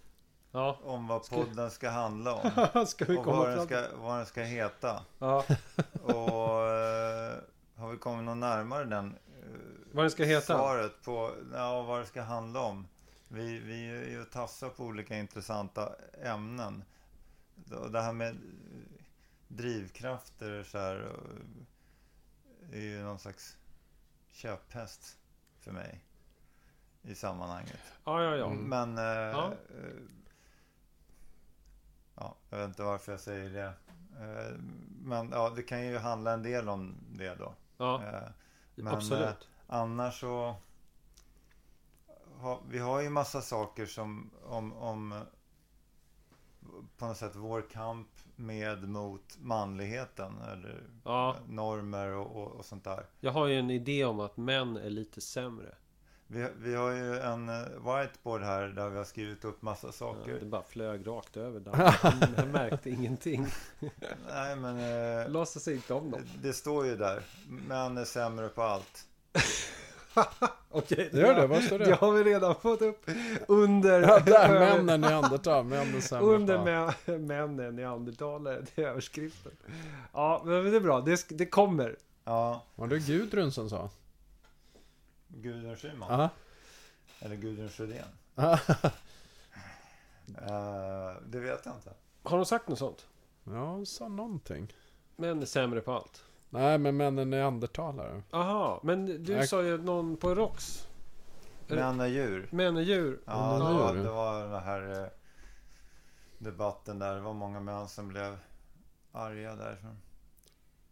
S1: Ja.
S2: om vad
S1: Ska-
S2: podden ska handla
S1: [LAUGHS]
S2: om.
S1: ska vi
S2: Och
S1: komma
S2: vad
S1: fram
S2: den
S1: till?
S2: ska, vad den ska heta.
S1: Ja,
S2: Och eh, har vi kommit någon närmare den eh,
S1: vad den ska heta?
S2: Svaret på ja, vad det ska handla om. Vi, vi är ju och tassar på olika intressanta ämnen. Och Det här med eh, drivkrafter och så här eh, är ju någon slags köphäst för mig i sammanhanget.
S1: Ja, ja, ja.
S3: Mm.
S2: Men... eh,
S1: Ja.
S2: eh, ja, jag vet inte varför jag säger det. Eh, men ja, det kan ju handla en del om det då.
S1: ja
S2: Eh, men, eh,
S1: absolut.
S2: Annars så... Har, vi har ju massa saker som om, om eh, på något sätt vår kamp med mot manligheten eller
S1: Ja,
S2: eh, normer och, och, och sånt där.
S1: jag har ju en idé om att män är lite sämre.
S2: Vi, vi har ju en eh, whiteboard här där vi har skrivit upp massa
S1: Ja,
S2: saker.
S1: Eh, det bara flög rakt över där. Jag märkte ingenting.
S2: Nej men eh,
S1: Låtsas inte om dem.
S2: det står ju där. Män är sämre på allt.
S1: Okej,
S3: Gör det? Vad står det?
S1: Det har vi redan fått upp under...
S3: Ja, [LAUGHS] där, männen neandertal, männen sämre
S1: Under
S3: fan.
S1: mä- [LAUGHS] männen, neandertalare, det är överskriften. Ja, men det är bra. Det, sk- det kommer.
S2: Ja,
S3: Var det Gudrun som sa?
S2: Gudrun Schyman.
S3: Ja.
S2: Eller Gudrun Sjödén.
S3: Ja.
S2: Eh, det vet jag inte.
S1: Har de sagt något sånt?
S3: Ja, hon sa någonting.
S1: Män är sämre på allt.
S3: Nej, men männen neandertalare.
S1: Aha, men du
S3: Nej.
S1: sa ju någon på Rox. Eller-
S2: Män är eh, djur.
S1: Män är djur.
S2: Ja,
S3: Undrar
S2: det var,
S3: hur.
S2: det var den här eh, debatten där. Det var många män som blev arga därifrån.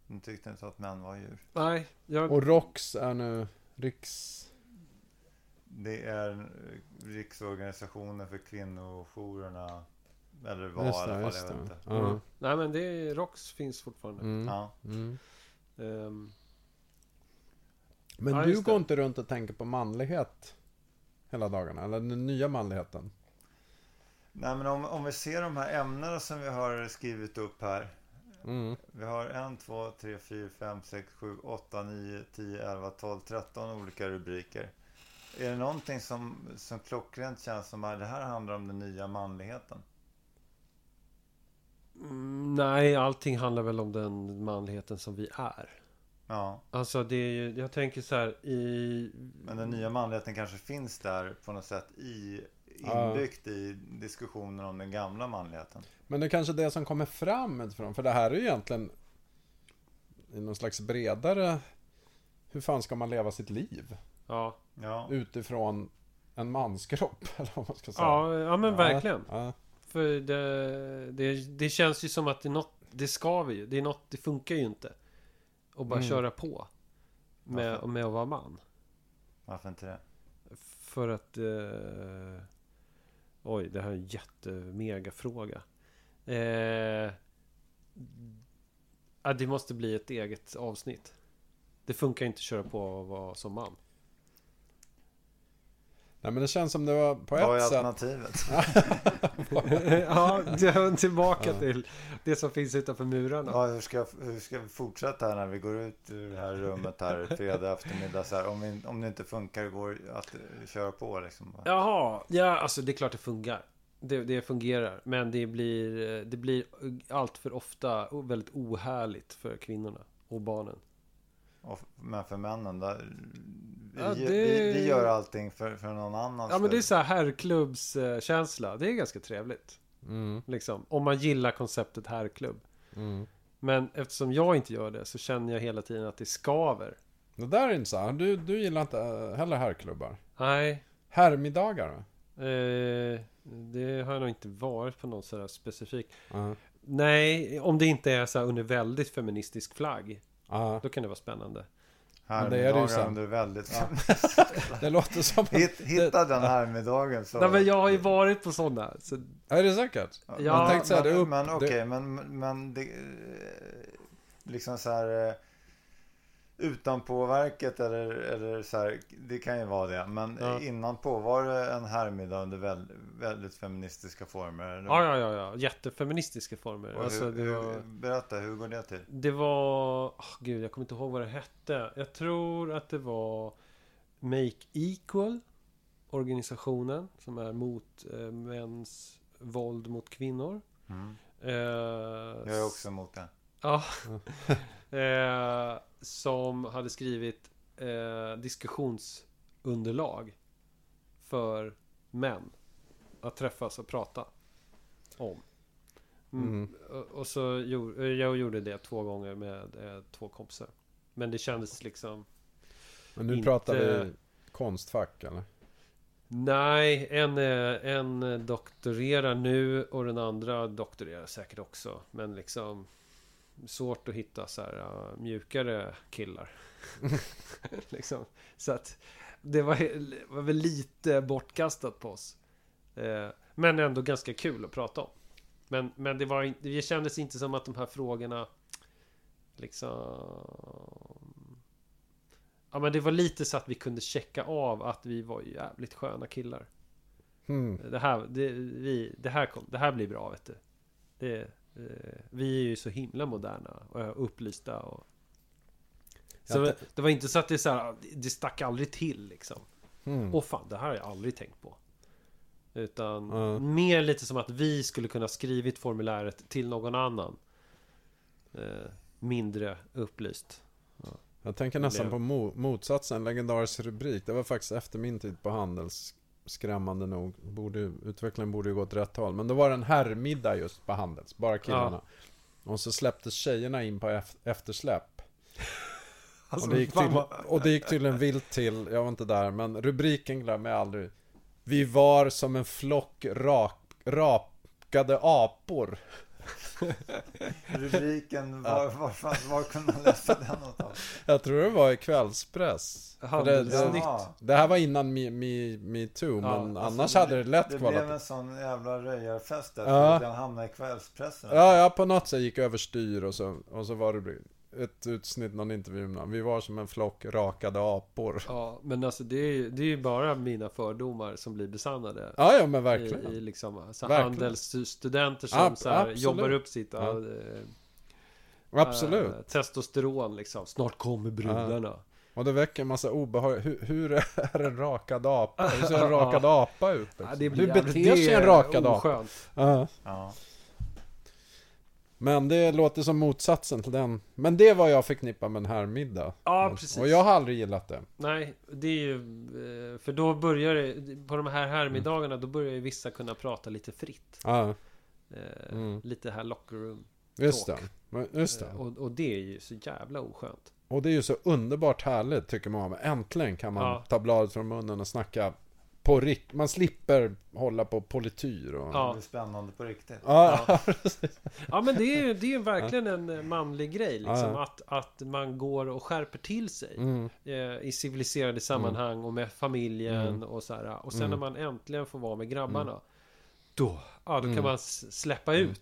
S2: De tyckte inte att män var djur.
S1: Nej, jag...
S3: Och ROX är nu riks...
S2: Det är eh, Riksorganisationen för kvinnojourerna. Eller var i
S3: Just det,
S2: alla fall,
S3: just
S2: jag vet
S3: det. Mm.
S2: inte. Mm.
S3: Ja.
S1: Nej, men det är, Rox finns fortfarande.
S3: Mm.
S2: Ja.
S3: Mm.
S1: Ehm,
S3: Men
S1: Ja,
S3: du
S1: just det.
S3: går inte runt och tänker på manlighet hela dagarna? Eller den nya manligheten?
S2: Nej, men om, om vi ser de här ämnena som vi har skrivit upp här.
S3: Mm.
S2: Vi har en, två, tre, fyra, fem, sex, sju, åtta, nio, tio, elva, tolv, tretton olika rubriker. Är det någonting som, som klockrent känns som att det här handlar om den nya manligheten?
S1: mm, nej, allting handlar väl om den manligheten som vi är.
S2: Ja,
S1: Alltså, det är ju... Jag tänker så här i...
S2: men den nya manligheten kanske finns där på något sätt i,
S3: Ja.
S2: inbyggt i diskussionen om den gamla manligheten.
S3: Men det är kanske det som kommer fram utifrån. För det här är ju egentligen i någon slags bredare... Hur fan ska man leva sitt liv?
S1: Ja,
S2: Ja.
S3: utifrån en manskropp. [LAUGHS] Eller vad man ska säga.
S1: ja, ja men verkligen.
S3: Ja,
S1: För det, det, det känns ju som att det är något, det ska vi ju. Det är något, det funkar ju inte. Och bara
S3: Mm.
S1: köra på. Med,
S2: Varför?
S1: med att vara man.
S2: Varför inte det?
S1: För att... Eh, oj, det här är en jättemega fråga. Eh, ja, det måste bli ett eget avsnitt. Det funkar inte att köra på och vara som man.
S3: Nej men det känns som det var på
S2: Vad är
S3: ett sätt.
S2: alternativet?
S1: [LAUGHS] ja, det är tillbaka till det som finns utanför murarna.
S2: Ja, hur, ska, hur ska vi fortsätta här när vi går ut ur det här rummet här fredag eftermiddag? Så här, om, vi, om det inte funkar går att eh, köra på liksom.
S1: Jaha, ja alltså det är klart det fungerar. Det, det fungerar, men det blir, det blir allt för ofta väldigt ohärligt för kvinnorna och barnen.
S2: Och, men för männen, där, vi,
S1: Ja, det-
S2: vi, vi gör allting för, för någon annan.
S1: Ja men det är
S2: skull.
S1: så här herrklubbskänsla, det är ganska trevligt.
S3: Mm,
S1: Liksom, om man gillar konceptet herrklubb.
S3: mm.
S1: Men eftersom jag inte gör det så känner jag hela tiden att det skaver.
S3: Det där är intressant. Du, du gillar inte eh, heller herrklubbar.
S1: Nej,
S3: Herrmiddagar va?
S1: eh, det har jag nog inte varit på något sådär specifikt.
S3: Ja.
S1: Nej, om det inte är så här under väldigt feministisk flagg.
S3: Ja.
S1: Då kan det vara spännande.
S2: Här
S3: men det är det ju sen.
S2: under väldigt... Ja.
S3: [LAUGHS] Det låter som...
S2: Hitt, hitta den här middagen så...
S1: Nej men jag har ju varit på sådana. Så
S3: Är det säkert?
S2: Ja,
S1: Jag
S2: men-
S1: tänkte
S3: säga det
S2: men-
S3: upp-
S2: Men
S3: det-
S2: okej, men, men det... eh, Liksom så här... eh, Utanpåverket eller, eller så här, det kan ju vara det. Men
S1: Ja.
S2: innanpå, var det en härmiddag under väl, väldigt feministiska former? Eller?
S1: Ja, ja, ja, ja. Jättefeministiska former.
S2: Och
S1: Alltså,
S2: hur,
S1: det var...
S2: hur, berätta, hur går det till?
S1: Det var... ah, gud, jag kommer inte ihåg vad det hette. Jag tror att det var Make Equal. Organisationen som är mot eh, mäns våld mot kvinnor.
S2: Mm.
S1: Eh,
S2: Jag är också emot det.
S1: Ja. eh, som hade skrivit eh, diskussionsunderlag för män att träffas och prata om. Mm.
S3: Mm.
S1: Och- Och så gjorde, jag gjorde det två gånger med eh, två kompisar. Men det kändes liksom...
S3: Men nu
S1: Inte-
S3: pratar vi konstfack eller?
S1: Nej, en, eh, en doktorerar nu och den andra doktorerar säkert också. Men liksom svårt att hitta så här eh, mjukare killar. [LAUGHS] liksom. Så att det var, var väl lite bortkastat på oss. Eh, Men ändå ganska kul att prata om. Men, men det, var, in- det kändes inte som att de här frågorna liksom... Ja men det var lite så att vi kunde checka av att vi var jävligt sköna killar.
S3: Hmm.
S1: Det här, det, vi, det här, kom, det här blir bra vet du. Det, eh, vi är ju så himla moderna och upplysta och... Så
S3: Jag
S1: det var inte så att det så här, ah, det stack aldrig till liksom.
S3: Hmm.
S1: Åh fan, det här har jag aldrig tänkt på. Utan
S3: Ja.
S1: mer lite som att vi skulle kunna skrivit formuläret till någon annan. Eh, mindre upplyst.
S3: Jag tänker nästan
S1: Blev-
S3: på mo- motsatsen, en legendarisk rubrik. Det var faktiskt efter min tid på Handels, skrämmande nog. Borde, utvecklingen borde ju gå åt rätt håll. Men då var det en herrmiddag just på Handels, bara killarna. Och så släpptes tjejerna in på ef- eftersläpp. och, det gick
S1: Alltså, fan,
S3: till, och det gick tydligen vilt till, jag var inte där, men rubriken glömmer jag aldrig. Vi var som en flock rak, rapkade apor.
S2: Rubriken, var, var, fanns- var kunde man läsa den någonstans?
S3: Jag tror det var i kvällspress. För det- det-
S1: Handelsnytt.
S2: Jaha.
S3: Det här var innan Me, me, me Too,
S1: Ja,
S3: men
S2: Alltså,
S3: annars
S2: det-
S3: hade det lätt
S2: Det
S3: kvalat.
S2: blev en sån jävla röjarfest där.
S3: Ja.
S2: Ja. Den hamnade i kvällspressen.
S3: Ja, ja, på något sätt gick överstyr och så, och så var det ett utsnitt, någon intervju med honom. Vi var som en flock rakade apor.
S1: Ja, men alltså det är, ju, det är ju bara mina fördomar som blir besannade.
S3: Ja, ja men
S1: I,
S3: verkligen.
S1: i liksom, så
S3: Verkligen.
S1: handelsstudenter som
S3: Ab-
S1: så här,
S3: absolut.
S1: jobbar upp sitt
S3: Ja.
S1: ja. eh,
S3: Absolut.
S1: eh, testosteron liksom. Snart kommer brudarna.
S3: Och det väcker en massa obehag. Hur, hur är en rakad apa?
S1: [LAUGHS]
S3: Hur ser en rakad apa
S1: Ja,
S3: ut? Liksom?
S1: Alltså, det blir
S3: hur
S1: jävligt-
S3: beter sig en
S1: det är
S3: rakad apa?
S1: oskönt.
S3: Ja.
S2: Ja.
S3: Men det låter som motsatsen till den. Men det var jag förknippar med den här middag.
S1: Ja, precis.
S3: Och jag har aldrig gillat det.
S1: Nej, det är ju... eh, För då börjar det... På de här härmiddagarna, då börjar ju vissa kunna prata lite fritt.
S3: Ja.
S1: Eh,
S3: Mm.
S1: Lite här locker room.
S3: Just det. Men- Just det.
S1: Eh, Och, och det är ju så jävla oskönt.
S3: Och det är ju så underbart härligt tycker man. Äntligen kan man
S1: Ja.
S3: ta bladet från munnen och snacka på rikt... Man slipper hålla på polityr och...
S1: Ja.
S2: Det blir spännande på riktigt.
S3: Ja,
S1: Ja men det är ju, det är ju verkligen en eh, manlig grej liksom.
S3: Ja, ja.
S1: Att, att man går och skärper till sig.
S3: [LAUGHS] Mm.
S1: eh, I civiliserade sammanhang och med familjen
S3: Mm.
S1: och så här. Och sen när man äntligen får vara med grabbarna. Då, ja, då kan man s- släppa ut.
S3: Mm.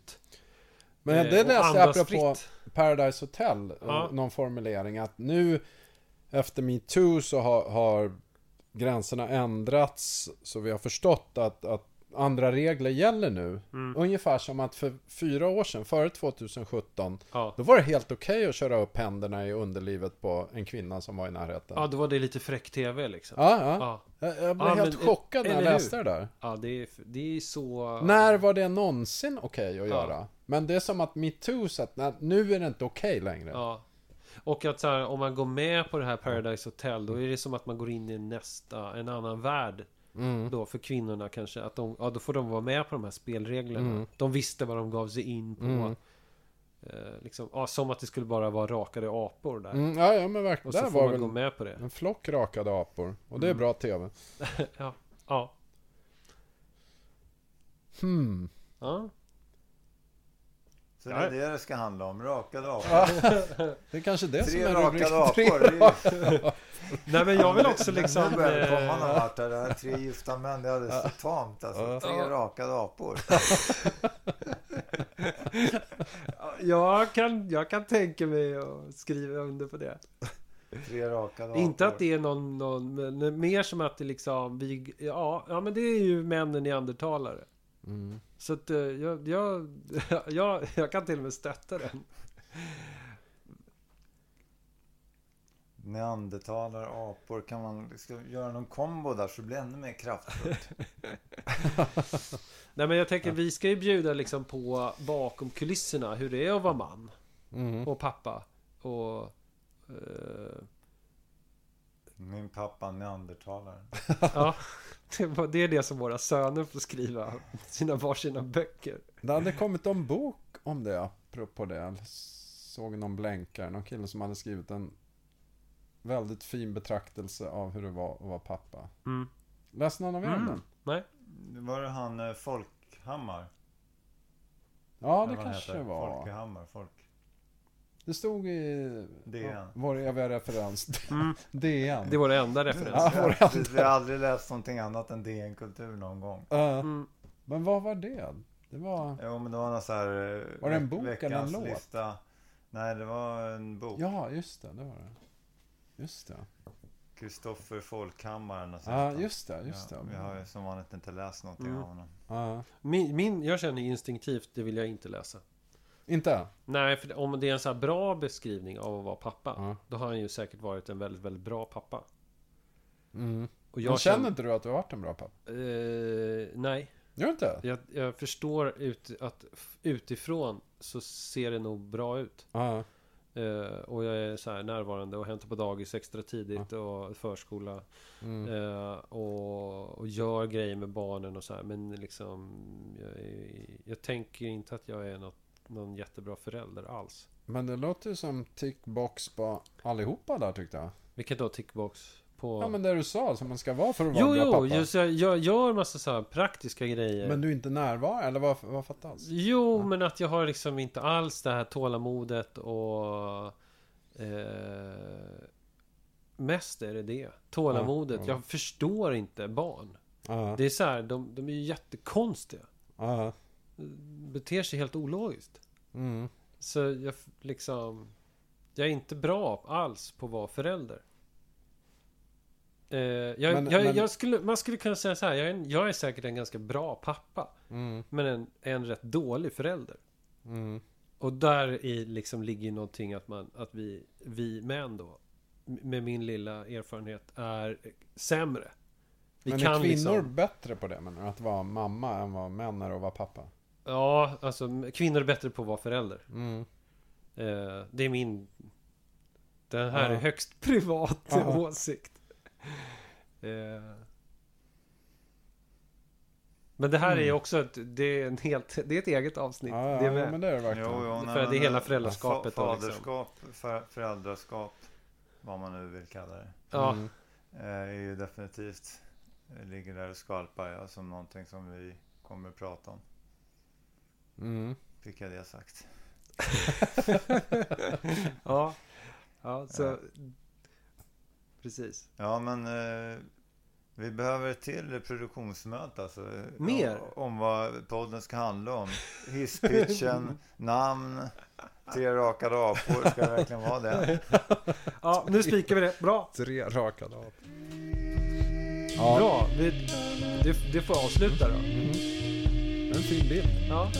S3: Men
S1: eh,
S3: det
S1: och
S3: läste jag
S1: andas
S3: apropå
S1: fritt.
S3: Paradise Hotel. eh,
S1: Ja.
S3: Någon formulering att nu efter metoo så har, har gränserna ändrats. Så vi har förstått att, att andra regler gäller nu.
S1: Mm.
S3: Ungefär som att för fyra år sedan, före 2017,
S1: Ja.
S3: då var det helt okej att köra upp händerna i underlivet på en kvinna som var i närheten.
S1: ja, då var det lite fräck-tv liksom.
S3: Ja, ja.
S1: Ja.
S3: Jag, jag blev
S1: Ja,
S3: helt
S1: men-
S3: chockad när jag
S1: eller hur?
S3: läste det där.
S1: Ja, det är, det är så...
S3: När var det någonsin okej
S1: Ja.
S3: att göra? Men det är som att metoo sa att nej, nu är det inte okej längre.
S1: Ja. Och att så här, om man går med på det här Paradise Hotel då är det som att man går in i nästa, en annan värld.
S3: Mm.
S1: Då för kvinnorna kanske. Att de, ja, då får de vara med på de här spelreglerna. De visste vad de gav sig in på. Eh, liksom, ja, som att det skulle bara vara rakade apor där.
S3: Mm, ja, ja, men verkligen.
S1: Och så
S3: Där
S1: får
S3: var
S1: man
S3: väl
S1: gå Mm. med på det.
S3: en flock rakade apor. Och det är bra TV.
S1: ja. Ja.
S3: Hmm.
S1: ja.
S2: Så det är det det ska handla om. Rakade apor.
S3: Det är kanske det som
S2: Tre
S3: är rubrik
S2: rakade apor.
S3: [LAUGHS] tre.
S2: Det är ju-
S1: Nej men jag vill också
S2: Nu-
S1: liksom...
S2: Nu börjar [LAUGHS] det komma någon
S1: Eh,
S2: vart. här. Det här tre gifta män, det är alldeles för tamt alltså. Tre
S1: Ja.
S2: rakade apor.
S1: jag, kan, jag kan tänka mig att skriva under på det.
S2: Tre rakade apor.
S1: Inte att det är någon, någon men mer som att det liksom, vi, ja, ja men det är ju männen neandertalare.
S3: Mm.
S1: Så att eh, jag, jag, [LAUGHS] jag, jag kan till och med stötta den.
S2: Neandertalare, apor. Kan man ska vi göra någon kombo där så det blir ännu mer kraftfullt.
S1: Nej men jag tänker vi ska ju bjuda liksom på bakom kulisserna hur det är att vara man
S3: Mm.
S1: och pappa och...
S3: [LAUGHS]
S1: eh,
S2: Min pappa neandertalare.
S1: ja, det, var- det är det som våra söner får skriva sina varsina böcker.
S3: Det hade kommit en bok om det, apropå det. Jag såg någon blänkare, någon kille som hade skrivit en väldigt fin betraktelse av hur det var att vara pappa.
S1: Mm.
S3: Läste någon av er
S1: Mm.
S3: den?
S1: Nej?
S2: Var det han eh, Folkhammar?
S3: Ja,
S2: Eller
S3: det
S2: vad
S3: kanske det
S2: heter.
S3: var.
S2: Folkehammar, folk.
S3: Det stod i
S2: DN.
S3: vår eviga referens. [LAUGHS] DN.
S1: Mm. Det var det enda
S3: Ja,
S1: referensen.
S2: jag,
S3: vår
S2: jag,
S3: enda.
S2: jag har aldrig läst någonting annat än DN Kultur någon gång.
S3: Eh,
S1: Mm.
S3: Men vad var det? Det var...
S2: Jo, men det var någon så här... eh,
S3: Var det en bok eller en
S2: veckans
S3: låt?
S2: Lista. Nej, det var en bok.
S3: Ja, just det. Det var det. Just det.
S2: Kristoffer Folkhammar. något sånt
S3: Ja,
S2: där.
S3: just det. Just
S2: Ja,
S3: det.
S2: vi har ju som vanligt inte läst någonting
S1: Mm.
S2: av honom.
S3: Ja.
S1: Min, min, jag känner instinktivt, det vill jag inte läsa.
S3: Inte?
S1: Nej, för om det är en så här bra beskrivning av att vara pappa.
S3: Ja.
S1: Då har han ju säkert varit en väldigt, väldigt bra pappa.
S3: Mm.
S1: Och
S3: Men känner inte du att du har varit en bra pappa?
S1: Eh, nej,
S3: Gör du inte?
S1: jag, jag förstår ut, att f- utifrån så ser det nog bra ut.
S3: Ja.
S1: Eh, och jag är så här närvarande och hämtar på dagis extra tidigt och förskola.
S3: Mm.
S1: Eh, och, och gör grejer med barnen och så här. Men liksom, jag, är- jag tänker inte att jag är något, någon jättebra förälder alls.
S3: Men det låter ju som tickbox på allihopa där tyckte jag.
S1: Vilket då tickbox på...
S3: Ja men det du sa som man ska vara för att vara
S1: Jo,
S3: en bra
S1: jo,
S3: pappa.
S1: just, jag, jag gör massa så här praktiska grejer.
S3: Men du är inte närvarande eller vad, vad fattas?
S1: Jo, men att jag har liksom inte alls det här tålamodet och... Eh, mest är det det. Tålamodet.
S3: Ja, ja.
S1: Jag förstår inte barn.
S3: Ja.
S1: Det är så här, de, de är ju jättekonstiga.
S3: Ja.
S1: Beter sig helt ologiskt.
S3: Mm.
S1: Så jag f- liksom... Jag är inte bra alls på att vara förälder. Eh, jag,
S3: Men-
S1: jag,
S3: men-
S1: jag skulle, man skulle kunna säga så här, jag är, en, jag är säkert en ganska bra pappa.
S3: Mm.
S1: Men en, en rätt dålig förälder.
S3: Mm.
S1: Och där i liksom ligger någonting att, man, att vi, vi män då, m- med min lilla erfarenhet, är sämre. Vi
S3: men är
S1: kan
S3: kvinnor
S1: liksom,
S3: bättre på det menar du? Att vara mamma än vad män är att vara pappa?
S1: Ja, alltså m- kvinnor är bättre på att vara förälder.
S3: Mm.
S1: Eh, det är min... Den här
S3: Ja.
S1: är högst [LAUGHS] privat
S3: Ja.
S1: åsikt. Eh, Men det här är också ett, det är en helt, det är ett eget avsnitt.
S3: Mm. Ja, ja,
S1: det är
S3: ja,
S1: med.
S3: men det är det verkligen.
S1: För det är hela föräldraskapet
S2: eh, Fa-
S1: då, liksom.
S2: Faderskap, för, föräldraskap, vad man nu vill kalla det.
S1: Ja,
S3: Mm.
S2: eh, är ju definitivt eh, ligger där och skvalpar ja, som någonting som vi kommer att prata om.
S3: Mm.
S2: Fick jag det sagt.
S1: [LAUGHS] ja. ja så.
S2: Ja.
S1: Precis.
S2: Ja, men eh, vi behöver ett till produktionsmöte alltså. eh,
S1: Mer?
S2: Om, om vad podden ska handla om. Hisspitchen, namn, tre raka apor. Ska det verkligen vara det?
S1: Ja, nu spikar vi det. Bra.
S3: Tre raka dagar.
S1: Bra. Vi, det, det får avsluta då.
S3: Mm. En fin bild.
S1: Ja.